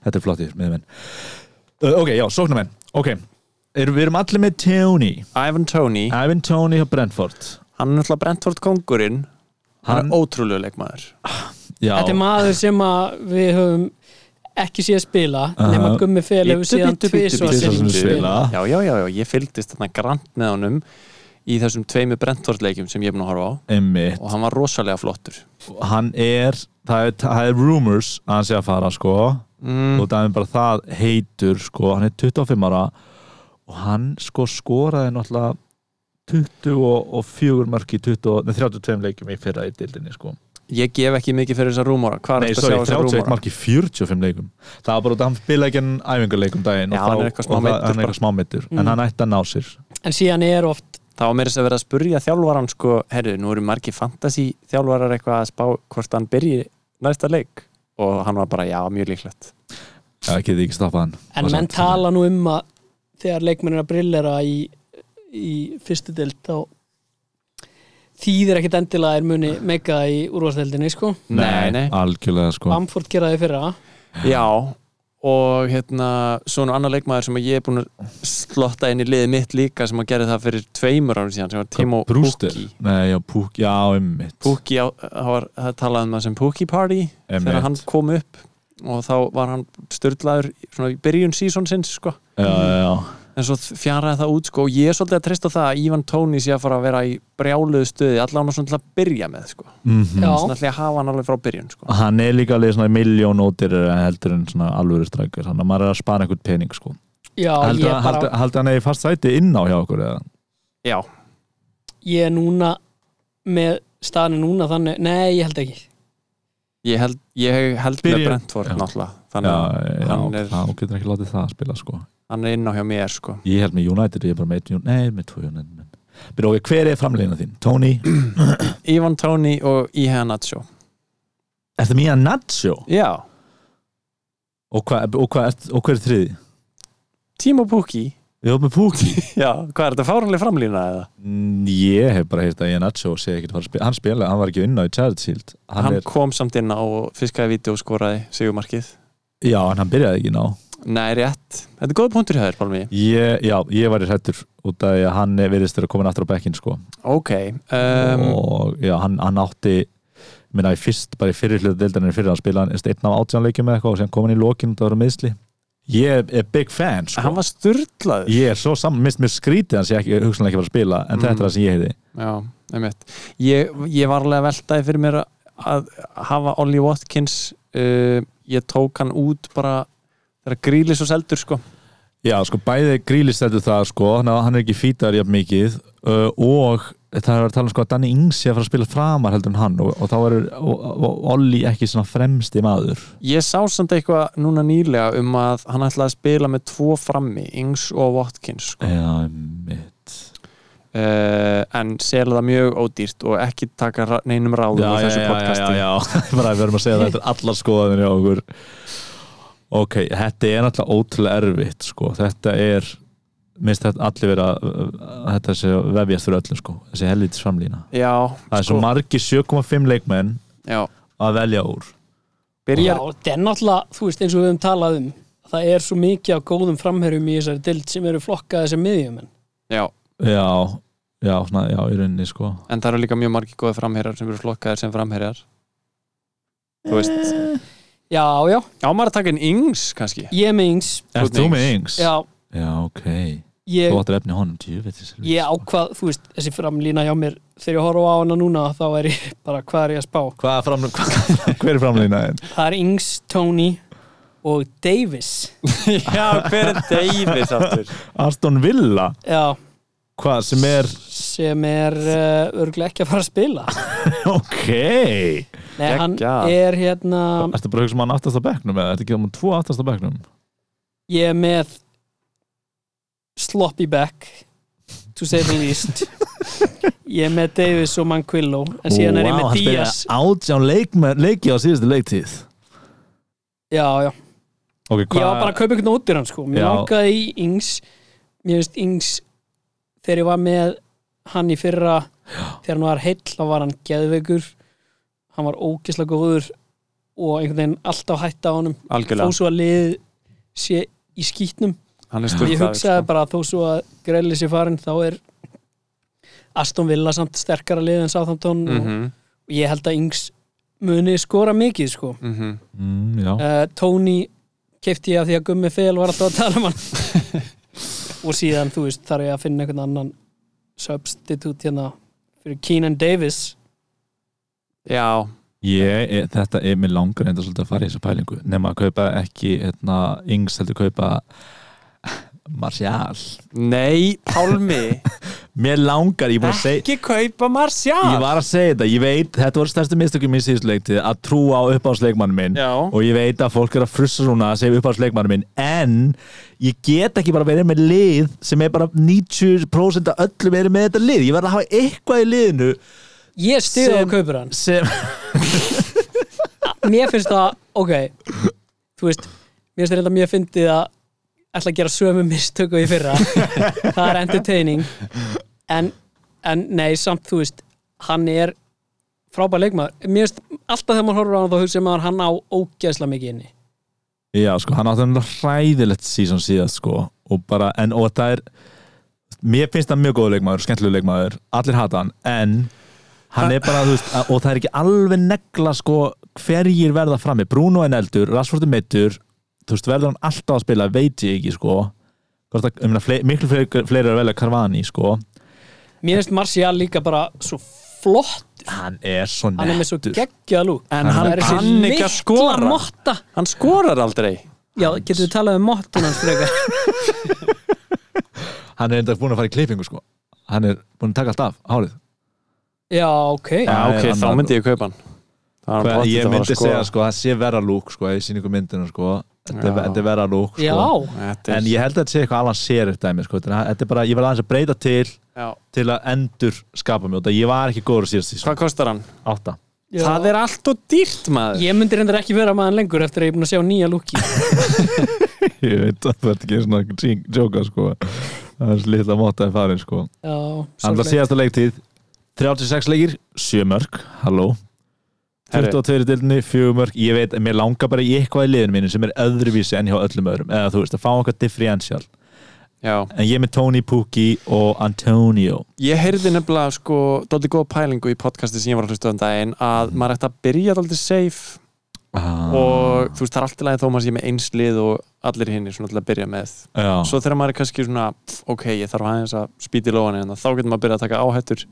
Speaker 3: þetta er flottir miðumenn uh, Ok, já, sóknarmenn Ok, er, við erum allir með Tony
Speaker 2: Ivan Toney,
Speaker 3: Ivan Tony hjá Brentford
Speaker 2: hann er náttúrulega Brentford kongurinn hann,
Speaker 3: Hann-
Speaker 2: er ótrúlega leikmaður
Speaker 3: Já,
Speaker 4: þetta er maður sem að við höfum ekki séð spila
Speaker 3: Aha.
Speaker 4: nema Gummi Fel hefur
Speaker 2: Bíddu,
Speaker 4: síðan
Speaker 2: bíddu, bíddu,
Speaker 4: tvisvar
Speaker 3: Tvisvar
Speaker 2: bíddu,
Speaker 4: sinnum
Speaker 3: sinnum
Speaker 4: spila
Speaker 3: spilað.
Speaker 2: já, já, já, já, ég fylgdist þarna grant með honum í þessum tveimu Brentford leikjum sem ég er búin að horfa á
Speaker 3: einmitt
Speaker 2: og hann var rosalega flottur
Speaker 3: hann er það er, það er rumors að hann sé að fara sko
Speaker 2: mm,
Speaker 3: og það er bara það heitur sko, hann er 25 ára og hann sko skoraði náttúrulega 24 mörg í 20, nei, 32 leikjum í fyrra í dildinni sko
Speaker 2: ég gef ekki mikið fyrir þessa rúmóra hvað
Speaker 3: Nei,
Speaker 2: er
Speaker 3: sorry,
Speaker 2: þetta að sjá þessa
Speaker 3: 31
Speaker 2: rúmóra
Speaker 3: mark í 45 leikum Það var bara út að hann spila ekki en æfingarleikum daginn
Speaker 2: Já,
Speaker 3: og, þá-
Speaker 2: hann er eitthvað smá
Speaker 3: og það- hann
Speaker 2: meiddur
Speaker 3: er
Speaker 2: bara.
Speaker 3: eitthvað smá meittur
Speaker 4: Mm.
Speaker 3: En hann ætti að ná sér
Speaker 4: en síðan er oft
Speaker 2: þá var meira þess að vera að spurja þjálvaran sko, herru, nú eru margir fantasy þjálvarar eitthvað að spá hvort hann byrji næsta leik og hann var bara, já, mjög líklegt
Speaker 3: Já, ekki því ekki stoppa hann
Speaker 4: en
Speaker 3: Og
Speaker 4: menn
Speaker 3: samt-
Speaker 4: tala nú um að þegar leikmenn er að brillera í, í fyrstu deild þá þýðir ekkit endilega að er muni meika í úrvarsdeildinni sko
Speaker 3: Nei,
Speaker 2: nei,
Speaker 3: algjörlega sko
Speaker 4: Bamford geraði fyrra
Speaker 2: já og hérna, svona annar leikmaður sem ég er búin að slotta inn í liðið mitt líka sem að gera það fyrir tveimur árum síðan sem var Timo
Speaker 3: Brewster.
Speaker 2: Pukki
Speaker 3: Nei, já, Púk, já, einmitt
Speaker 2: Pukki, á- það var það talaði um það sem Pukki Party þegar hann
Speaker 3: Einmitt.
Speaker 2: kom upp og þá var hann styrlaður svona í byrjun sísonsins sko
Speaker 3: Já, já, já
Speaker 2: en svo fjaraði það út sko og ég er svolítið að treysta á það að Ívan Tóni sé að fara að vera í brjáluðu stöði allan og svona til að byrja með sko
Speaker 3: Mhm.
Speaker 4: Já.
Speaker 2: svona ætla ég að hafa hann alveg frá byrjun sko
Speaker 3: hann er líka alveg svona miljón ótir heldur en svona alvöru strækir þannig að maður er að spara einhvern pening sko
Speaker 4: já,
Speaker 3: heldur
Speaker 4: ég, bara,
Speaker 3: bara... held hann eigi fast sæti inn á hjá okkur eða
Speaker 2: já,
Speaker 4: ég er núna með staðinu núna þannig nei, ég held ekki
Speaker 2: ég held, ég held með
Speaker 3: Byrjun.
Speaker 2: Brentford
Speaker 3: Já.
Speaker 2: náttúrulega
Speaker 3: já,
Speaker 2: þannig að
Speaker 3: já,
Speaker 2: hann er-
Speaker 3: þá getur ekki látið það að spila sko
Speaker 2: hann er inn á hjá mér sko
Speaker 3: ég held með United, ég er bara með eitt United nei, með tvo United menn. Byrja, okay, hver er framlegina þín? Tony,
Speaker 2: Ívan Tóni og Íhe Nacho
Speaker 3: ertu mjög að Nacho?
Speaker 2: já,
Speaker 3: og hvað og hva, og hver er þriði?
Speaker 2: Timo Pukki
Speaker 3: ég hef með Pukki
Speaker 2: já, hvað er þetta fáranlega framlýna eða?
Speaker 3: Mm, ég hef bara heilt að ég er Nacho og sé ekki að fara að spila hann spilaði, hann var ekki inn á í Charity Shield hann
Speaker 2: hann
Speaker 3: er,
Speaker 2: kom samt inn á og fiskaði vídeo og skoraði sigumarkið
Speaker 3: já, en hann byrjaði ekki ná
Speaker 2: nei, rétt, þetta er góð punktur hjá þér, Pálmi
Speaker 3: Ég, já, ég var í hrættur út af því að hann virðist þeirra komin aftur á bekkin sko.
Speaker 2: ok, um,
Speaker 3: og já, hann, hann átti minna í fyrst, bara í fyrir hlutu deildarinn fyrir hann spila hann einn af átjánleikjum eða eitthvað og sem komin í lokin út af að meðsli Ég er big fan sko.
Speaker 2: hann var styrlaður
Speaker 3: Ég er svo saman, mist mér skrítið hans ég ekki, hugsanlega ekki að fara að spila en
Speaker 2: Mm.
Speaker 3: þetta er það sem ég heiti
Speaker 2: Já, einmitt Ég, ég var alveg að veltaði fyrir mér að hafa Ollie Watkins uh, ég tók hann út bara þegar grílis og seldur sko
Speaker 3: Já, sko, bæði grílist þetta það sko, þannig að hann er ekki fítar jafn mikið uh, og það er að tala um sko að Danny Ings sé að fara að spila framar heldur en hann og, og þá er og, og Olli ekki svona fremsti maður
Speaker 2: Ég sá samt eitthvað núna nýlega um að hann ætlaði að spila með tvo frammi Ings og Watkins sko.
Speaker 3: Já, mitt
Speaker 2: uh, en selja það mjög ódýrt og ekki taka ra- neinum ráðum í þessu podcasti
Speaker 3: já, já, bara við erum að segja það þetta er allar skoðanir hjá okkur ok, þetta er náttúrulega ótrúlega erfitt sko, þetta er minnst þetta allir vera uh, að þetta sé að vefjast fyrir öllum sko þessi helvitis framlýna
Speaker 2: já,
Speaker 3: það er svo margir 7,5 leikmenn
Speaker 2: já,
Speaker 3: að velja úr
Speaker 4: Já,
Speaker 2: byrjar
Speaker 4: þetta er náttúrulega, þú veist, eins og við höfum talað um það er svo mikið af góðum framherjum í þessari dild sem eru flokkaði sem miðjumenn
Speaker 2: já,
Speaker 3: já, já, svona, já, í rauninni sko
Speaker 2: en það eru líka mjög margir góða framherjar sem eru flokkaðir sem framherjar þú veist,
Speaker 4: Já, já,
Speaker 2: ámar að taka inn yngs kannski,
Speaker 4: ég er með yngs
Speaker 3: Erst þú með yngs?
Speaker 4: Já,
Speaker 3: já, ok,
Speaker 4: ég,
Speaker 3: þú áttir efni í honum djúvitis
Speaker 4: ég ákvað, þú veist, þessi framlína hjá mér þegar ég horfa á hana núna þá er ég bara, hvað er ég að spá?
Speaker 3: Hvað fram, hvað, hver er framlýnaðin?
Speaker 4: Það er Ings, Tony og Davis
Speaker 2: já, hver er Davis aftur,
Speaker 3: Aston Villa,
Speaker 4: Já,
Speaker 3: hvað sem er
Speaker 4: sem er uh, örgulega ekki að fara að spila
Speaker 3: ok
Speaker 4: Nei, hann
Speaker 2: Geggjað.
Speaker 4: er hérna
Speaker 3: Ertu bara að hugsa um hann aftast á bekknum eða ertu ekki um tvo aftast á bekknum?
Speaker 4: ég er með sloppy back to say the least ég er með Davis og Manquillo en síðan er ég
Speaker 3: Vá,
Speaker 4: með
Speaker 3: hann spilaði
Speaker 4: Díaz
Speaker 3: átján leikmenn, leiki á síðustu leiktíð
Speaker 4: já, já.
Speaker 3: okay,
Speaker 4: ég var bara að kaupa einhvern út í hann sko. mér
Speaker 3: Já.
Speaker 4: langaði í Ings mér finnst Ings þegar ég var með hann í fyrra þegar hann var heill, þá var hann geðveikur hann var ógisla góður og einhvern veginn alltaf hætta á honum þó
Speaker 2: algjörlega
Speaker 4: svo að lið sé í skýtnum
Speaker 2: hann er sko-
Speaker 4: ég
Speaker 2: sturglaður
Speaker 4: hugsaði bara að þó svo að Grelli sé farin þá er Aston Villa samt sterkara lið en Southampton
Speaker 2: Mhm.
Speaker 4: og ég held að Ings muni skora mikið sko
Speaker 2: mhm.
Speaker 3: mm, já.
Speaker 4: uh, Tony kefti ég af því að Gummi Fel var alltaf að tala um hann og síðan þú veist þarf ég að finna einhvern annan substitute hérna fyrir Keenan Davis
Speaker 2: já,
Speaker 3: Ég, e- þetta er mér langar enda svolítið að fara í þessa pælingu nema að kaupa ekki, hérna, yngs heldur kaupa Martial
Speaker 2: nei, Pálmi
Speaker 3: Mér langar, ég, búin
Speaker 4: Ah.
Speaker 3: að seg,
Speaker 2: ekki kaupa Marcial
Speaker 3: ég var að segja þetta ég veit, þetta voru stærstu mistökum í síðustu leiktíð að trúa á uppáðsleikmann minn
Speaker 2: Já.
Speaker 3: og ég veit að fólk er að frussa svona að segja uppáðsleikmann minn en ég get ekki bara verið með lið sem er bara 90% af öllum verið með þetta lið ég verð að hafa eitthvað í liðinu
Speaker 4: ég stiði á
Speaker 3: Sem-
Speaker 4: kaupur hann
Speaker 3: sem
Speaker 4: mér finnst það, ok þú veist, mér finnst þetta mjög fyndið að ætla að gera sömu mistöku í fyrra það er entertaining en, en nei, samt þú veist hann er frábær leikmaður mér finnst alltaf þegar maður horfir á hann þá hugsa maður hann á ógeðsla mikið inni
Speaker 3: Já, sko, hann átti hann ræðilegt sísón síðast, sko, og bara, en, og það er, mér finnst það mjög góð leikmaður, skemmtileg leikmaður, allir hata hann, en hann er bara, þú veist, að- og það er ekki alveg negla, sko, hverjir verða frammi, Bruno en eldur, Rashford er meittur, þú veist, verður hann alltaf að spila, veit ég ekki, sko, Hvort að, um, fle miklu fleiri, fleiri er að velja Carvani, sko,
Speaker 4: mér finnst Marcial líka bara svo flott
Speaker 3: hann er svo nettur.
Speaker 4: hann er með svo geggjaða lúk
Speaker 2: En hann
Speaker 4: Það er þessi
Speaker 2: kann ekki að
Speaker 4: mikla
Speaker 2: skora.
Speaker 4: motta
Speaker 2: hann skorar aldrei
Speaker 4: já, getur við talað um mottun hans frekar
Speaker 3: Hann er enda búin að fara í klippingu, sko, hann er búin að taka allt af, hárið.
Speaker 4: já, ok
Speaker 2: Já,
Speaker 3: Það er
Speaker 2: ok, þá
Speaker 3: annað-
Speaker 2: myndi ég kaupa hann Það er hann
Speaker 3: Hvað,
Speaker 2: pottþétt
Speaker 3: ég
Speaker 2: að fara
Speaker 3: myndi
Speaker 2: að skoða.
Speaker 3: segja sko, það sé vera lúk sko, ég sýn ykkur myndina sko þetta er-
Speaker 2: Já.
Speaker 3: þetta er vera lúk
Speaker 4: já,
Speaker 3: sko.
Speaker 2: Þetta
Speaker 3: en
Speaker 2: er,
Speaker 3: ég held að þetta sé eitthvað alveg sér dæmi, sko. þetta er- þetta er bara, ég var aðeins að breyta til
Speaker 2: já,
Speaker 3: til að endur skapa mjóta ég var ekki góður síðast því,
Speaker 2: Hvað kostar hann?
Speaker 3: átta
Speaker 4: já.
Speaker 2: Það er allt og dýrt maður
Speaker 4: Ég myndi reyndar ekki vera maður lengur eftir að ég er búin að sjá nýja lúki
Speaker 3: ég veit að þetta ekki er svona tíng- jóka sko, það er slítið að móta í farin sko, hann það
Speaker 4: Já,
Speaker 3: síðasta leiktíð 36 leikir, 7 mörg halló
Speaker 2: Herri.
Speaker 3: 22 dildinni, 4 mörg, ég veit mér langar bara í eitthvað í liðinu mínu sem er öðruvísi enn hjá öllum öðrum, eða þú veist að fá okkar differential
Speaker 2: Já,
Speaker 3: En ég er með Tony Pukki og Antonio
Speaker 2: ég heyrði nefnilega sko Dóldi góða pælingu í podcasti sem ég var að hlusta um daginn að maður ætti að byrja dóldi safe
Speaker 3: ah,
Speaker 2: og þú veist, það er allt í lagi þó maður sé með eins lið og allir hinn er svona til að byrja með
Speaker 3: já,
Speaker 2: Svo þegar maður er kannski svona pff, ok, ég þarf aðeins að spýti lóan en þá getur maður að byrja að taka áhættur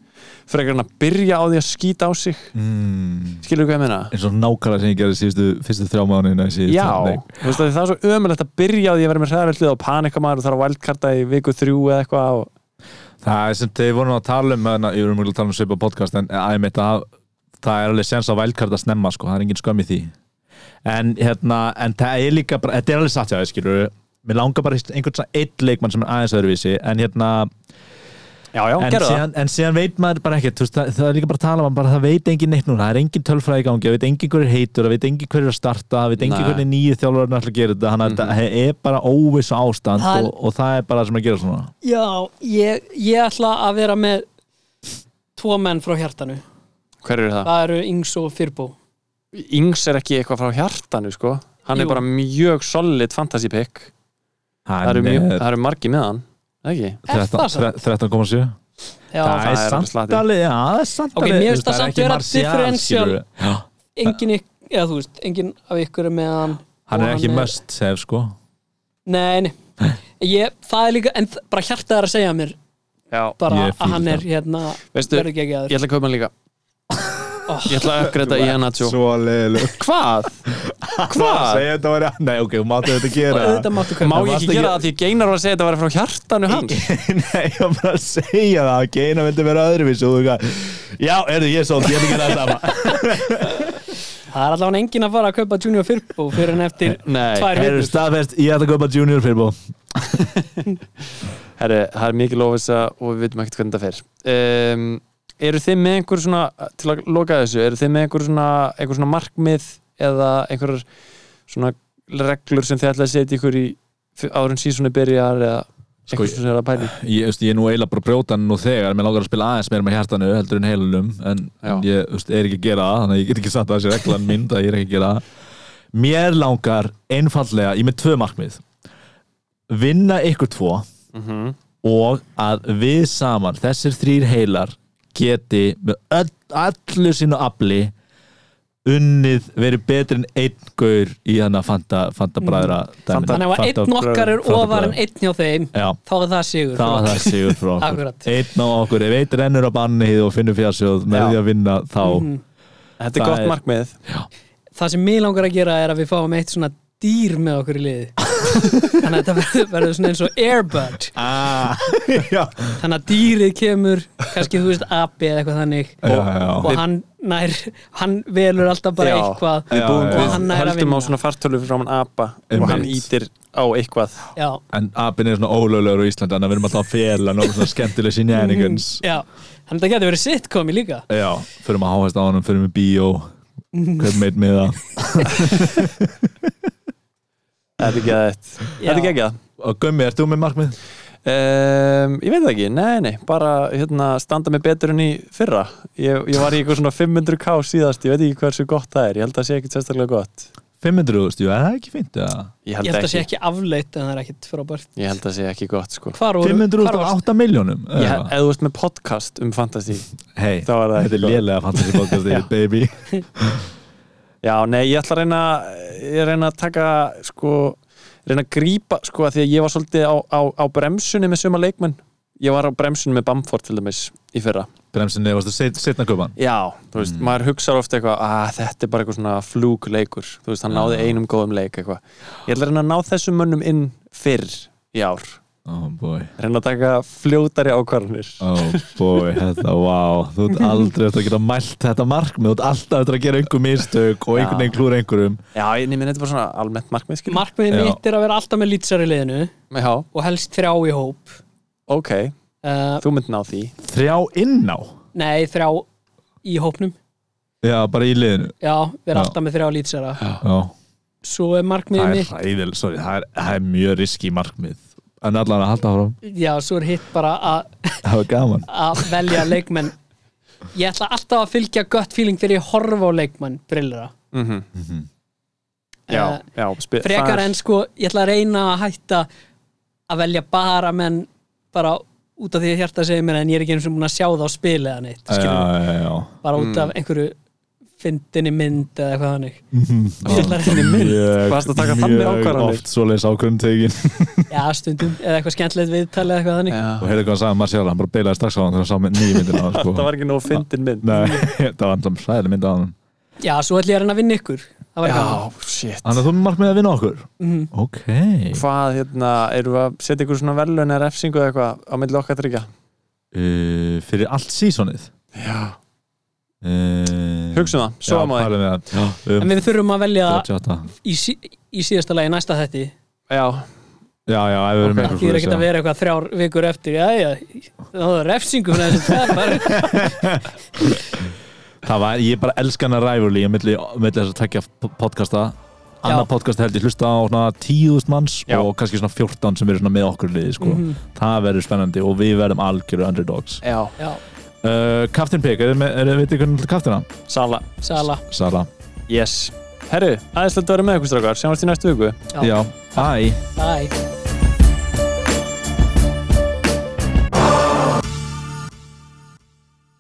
Speaker 2: frekar en að byrja á því að skýta á sig
Speaker 3: mm,
Speaker 2: Skilur hvað ég meina?
Speaker 3: eins og nákvæmlega sem ég gerði síðustu fyrstu þrjá mánuðina í síðustu
Speaker 2: Já,
Speaker 3: leik.
Speaker 2: þú veist að það er svo ömulegt að byrja á því að vera með hræðarvellið og panika maður og þarf að wildcarta í viku þrjú eða eitthvað og...
Speaker 3: það er sem þeir vorum að tala um þannig að ég vorum að tala um svipa podcast en að, mitt, að, það er alveg sens á vældkart að snemma sko, það er engin skömm í því en, hérna, en það er líka bara, þetta er alveg satt hjá þér skilur mér langar bara í einhvern svona eitt leikmann sem er aðeins öðruvísi en hérna
Speaker 2: Já, já, já,
Speaker 3: en
Speaker 2: gerðu
Speaker 3: síðan, en síðan veit maður bara ekkert þú veist, það, það er líka bara að tala um bara, það veit engin neitt núna, það er engin tölfræði í gangi það veit engin hver er heitur, það veit engin hver er að starta það veit engin
Speaker 2: Nei. Mm-hmm.
Speaker 3: hvernig nýju þjálfurinn ætla að gera þetta þannig að þetta er bara óviss ástand
Speaker 4: Það er-
Speaker 3: og, og það er bara það sem er að gera svona
Speaker 4: Já, ég, ég ætla að vera með tvo menn frá hjartanu
Speaker 2: það hver eru það?
Speaker 4: það eru Ings og Fyrbó
Speaker 2: Ings er ekki eitthvað frá hjartanu sko hann
Speaker 4: Jú.
Speaker 2: er bara mjög solid fantasy pick það eru,
Speaker 3: Hann
Speaker 2: mjög,
Speaker 3: er
Speaker 2: það eru margi með hann það ekki?
Speaker 4: Er það
Speaker 3: 13
Speaker 4: samt?
Speaker 3: 13,7
Speaker 4: Já,
Speaker 3: það er
Speaker 2: það er alveg
Speaker 3: samt
Speaker 2: slatti.
Speaker 3: alveg já, það er samt
Speaker 4: Ok,
Speaker 3: alveg
Speaker 4: mér
Speaker 3: þú
Speaker 4: finnst
Speaker 3: veist,
Speaker 4: það
Speaker 3: er
Speaker 4: samt
Speaker 3: ekki
Speaker 4: vera
Speaker 3: Martial,
Speaker 4: differential.
Speaker 3: skilurðu. Já,
Speaker 4: engin, ykk- eða, þú veist, engin af ykkur er með hann
Speaker 3: hann
Speaker 4: og
Speaker 3: er ekki must save sko
Speaker 4: Nei, nei ég, það er líka, en þ- bara hjartað er að segja mér
Speaker 2: já,
Speaker 4: bara
Speaker 3: Ég fíla
Speaker 4: að hann er
Speaker 3: það.
Speaker 4: hérna
Speaker 2: veistu,
Speaker 4: verður ekki
Speaker 2: ég
Speaker 4: aður
Speaker 2: ætla að kaupa hann líka ég ætla að uppgreita í hann að sjó
Speaker 3: svo leiðileg
Speaker 2: hvað? hvað?
Speaker 3: segja þetta var nei ok, þú máttu þetta
Speaker 4: og
Speaker 3: gera
Speaker 4: auðvitað máttu
Speaker 2: má
Speaker 4: kaupa
Speaker 2: ég
Speaker 3: varstu
Speaker 2: ekki
Speaker 3: ekki-
Speaker 2: gera það því Geinar var að segja þetta var frá hjartanu hans
Speaker 3: Nei, ég var bara að segja það að Geina myndi vera öðruvís og þú eitthvað Já, erðu ég svolítið, ég ætla ekki að gera það sama
Speaker 4: það er allavega engin að fara að kaupa Junior Fyrbó fyrir en eftir
Speaker 2: Nei,
Speaker 4: tvær
Speaker 3: Erðu
Speaker 4: vikur
Speaker 3: staðfest, ég ætla að köpa junior fyrir bó
Speaker 2: Herri, það er mikið lofisa og við veitum ekkert hvernig það fer um, Eru þið með einhver svona til að loka þessu, eru þið með einhver svona, einhver svona markmið eða einhverjar svona reglur sem þið ætlaði að setja ykkur í árun sísunni byrjar eða
Speaker 3: Sko,
Speaker 2: eitthvað sem er að pæli
Speaker 3: ég, veist, ég er nú eiginlega bara brjótan nú þegar Mér langar að spila aðeins meira með hjartanu heldur en heilunum En
Speaker 2: Já.
Speaker 3: ég veist, er ekki að gera það Þannig að ég get ekki satt að þessi reglan mynd að ég er ekki að gera það Mér langar einfallega, ég er með tvö markmið Vinna ykkur tvo Mhm. og að við saman, þessir þrýr heilar geti með öll, allu sínu afli unnið verið betri en einn gaur í þannig að fanta, fanta bræðra dæminu.
Speaker 4: Mm. þannig að ef
Speaker 3: Fanta-
Speaker 4: einn okkar er
Speaker 3: Fanta
Speaker 4: ofar
Speaker 3: bræðra.
Speaker 4: en einn hjá þeim
Speaker 3: Já,
Speaker 4: þá er það sigur
Speaker 3: það var það sigur frá okkur
Speaker 4: Akkurat.
Speaker 3: einn á okkur, ef einn rennur á bannið og finnur fjársjóð
Speaker 2: Já.
Speaker 3: með því að vinna þá
Speaker 4: Mhm.
Speaker 2: Þetta er
Speaker 3: Það
Speaker 2: gott
Speaker 3: er-
Speaker 2: markmið
Speaker 4: það sem mig langar að gera er að við fáum eitt svona dýr með okkur í liði þannig að þetta verður- verður svona eins og Airbud
Speaker 3: ah, já,
Speaker 4: þannig að dýrið kemur kannski þú veist api eða eitthvað þannig
Speaker 3: Já, já.
Speaker 4: og, og hann nær hann velur alltaf bara
Speaker 2: Já,
Speaker 4: eitthvað
Speaker 2: Við, búum,
Speaker 3: Já, já.
Speaker 4: Og hann
Speaker 2: við
Speaker 4: er að
Speaker 2: höldum á
Speaker 4: vinna.
Speaker 2: svona fartölu frá hann apa og
Speaker 3: Einmitt.
Speaker 2: hann ítir á eitthvað
Speaker 4: já,
Speaker 3: en apinn er svona ólöglegur á Íslandi, þannig að við erum alltaf að fela nóg svona skemmtileg
Speaker 4: Mhm.
Speaker 3: sinjæningans
Speaker 4: já þannig að það getur verið sitcomi líka
Speaker 3: já, förum að háhæst á honum, förum í bíó hvern meitt með það
Speaker 2: Þetta er ekki að þetta er ekki að
Speaker 3: Og Gummi, ert þú með markmið?
Speaker 2: Um, ég veit það ekki, nei, nei, bara hérna, standa mig betur enn í fyrra ég, ég var í eitthvað svona 500k síðast ég veit ekki hversu gott það er, ég held að það sé ekkit sérstaklega gott
Speaker 3: 500.000, jú, er það ekki fint? Ja.
Speaker 2: Ég
Speaker 4: ég held að það sé ekki afleitt en það er ekkit frábært
Speaker 2: Ég held að það sé ekki gott sko
Speaker 4: hvar voru, hvar
Speaker 3: 500.000 og
Speaker 4: voru
Speaker 3: 8 miljónum?
Speaker 2: ég, Ef þú ert með podcast um fantasy
Speaker 3: Hei,
Speaker 2: þá var það
Speaker 3: þetta
Speaker 2: ekki
Speaker 3: er
Speaker 2: gott.
Speaker 3: lélega fantasy
Speaker 2: Já.
Speaker 3: podcastið, baby
Speaker 2: Já, nei, ég ætla að reyna ég reyna að taka sko, reyna að grípa sko, að því að ég var svolítið á, á, á bremsunni með suma leikmenn Ég var á bremsunni með Bamford til dæmis í fyrra
Speaker 3: Bremsinni, varstu set, setna kupan?
Speaker 2: Já, þú veist, maður hugsa ofta eitthvað að þetta er bara eitthvað svona flúkleikur þú veist, hann náði einum góðum leik eitthvað ég ætla að reyna að ná þessum mönnum inn fyrr í ár,
Speaker 3: Oh boy,
Speaker 2: reyna að taka fljótari ákvarðanir
Speaker 3: oh boy, þetta, wow Þú ert aldrei eftir að geta mælt þetta markmið Þú ert alltaf eftir að gera einhver mistök og einhvern veginn klúra einhverjum
Speaker 2: Já, ég nefnir þetta er bara svona almennt markmið skilur.
Speaker 4: markmiðið
Speaker 3: Já.
Speaker 4: mitt er að vera alltaf með lýtsar í liðinu
Speaker 2: Já,
Speaker 4: og helst þrjá í hóp
Speaker 2: ok,
Speaker 4: uh,
Speaker 2: þú mynd ná því
Speaker 3: Þrjá inn á
Speaker 4: nei þrjá í hópnum
Speaker 3: Já, bara í liðinu
Speaker 4: já, vera
Speaker 3: Já.
Speaker 4: alltaf með þrjá lýtsara
Speaker 3: Já.
Speaker 4: svo er markmiðið
Speaker 3: Það er
Speaker 4: mitt
Speaker 3: hæðil, sorry, það er, það er mjög riski markmið En allan að halda áfram,
Speaker 4: já, svo er hitt bara að
Speaker 3: það var gaman
Speaker 4: að velja leikmenn ég ætla alltaf að fylgja gött feeling þegar ég horfa á leikmenn brillera
Speaker 2: mm
Speaker 3: Mhm.
Speaker 2: Já,
Speaker 4: Eh,
Speaker 2: já spi- það
Speaker 4: frekar
Speaker 2: er-
Speaker 4: en sko, ég ætla að reyna að hætta að velja bara menn bara út af því að hjarta segir mér en ég er ekki eins og múin að sjá það á spil eða neitt, skilur,
Speaker 3: já, já, já. Mm.
Speaker 4: bara út af einhverju fyndinni mynd eða eitthvað þannig
Speaker 3: Ég
Speaker 4: ætlar henni mynd.
Speaker 2: Varstu að taka þannig ákvarðanir?
Speaker 3: Mjög oft svoleiðis ákvörðan tekin
Speaker 4: já, stundum, eða eitthvað skemmtilegt viðtal eða eitthvað þannig
Speaker 2: Já.
Speaker 3: Og heyrðu hvað hann sagði, maður sjálf, hann bara beilaði strax á hann þegar hann sá með nýju myndina á hann sko.
Speaker 2: Þetta var ekki nóg fyndin mynd
Speaker 3: Nei, þetta var alltaf sæðileg mynd á hann
Speaker 4: já, svo ætla ég að reyna að vinna ykkur það var
Speaker 2: Já,
Speaker 4: eitthvað
Speaker 2: shit
Speaker 3: Þannig að þú mark með að vinna okkur
Speaker 4: Mhm.
Speaker 3: Ok
Speaker 2: Hvað, hérna, erum við að setja ykkur svona verðlaun eða refsingu eða eitthvað á milli okkar tryggja?
Speaker 3: uh, Fyrir allt sísonið
Speaker 2: Já
Speaker 3: uh,
Speaker 2: Hugsum það, svo að
Speaker 3: Já,
Speaker 2: maður
Speaker 3: pælum við það um,
Speaker 4: en við þurfum að velja
Speaker 3: 38
Speaker 4: í, sí- í síðasta lagi næsta þetti
Speaker 2: Já,
Speaker 3: já, já, ef við erum
Speaker 4: Það er ekkert að vera eitthvað þrjár vikur eftir Já, já, þá er refsingu fyrir þessu tvær bara
Speaker 3: það var, ég bara elska hana ræfurlí á milli, milli þess að tekja podcasta annar
Speaker 4: Já.
Speaker 3: podcast held ég hlusta á svona tíðust manns
Speaker 2: Já.
Speaker 3: og kannski svona 14 sem eru svona með okkur í liði sko. það verður spennandi og við verðum algjöru underdogs
Speaker 2: Já,
Speaker 4: Já,
Speaker 3: uh, Captain Pig, er, er, er, veitir hvernig til Captaina?
Speaker 2: Sala
Speaker 4: Sala
Speaker 3: Sara,
Speaker 2: Yes Herru, aðeinslega að vera með ykkur strákar, sjáumst í næstu viku
Speaker 4: Já.
Speaker 3: já, æ
Speaker 4: Bye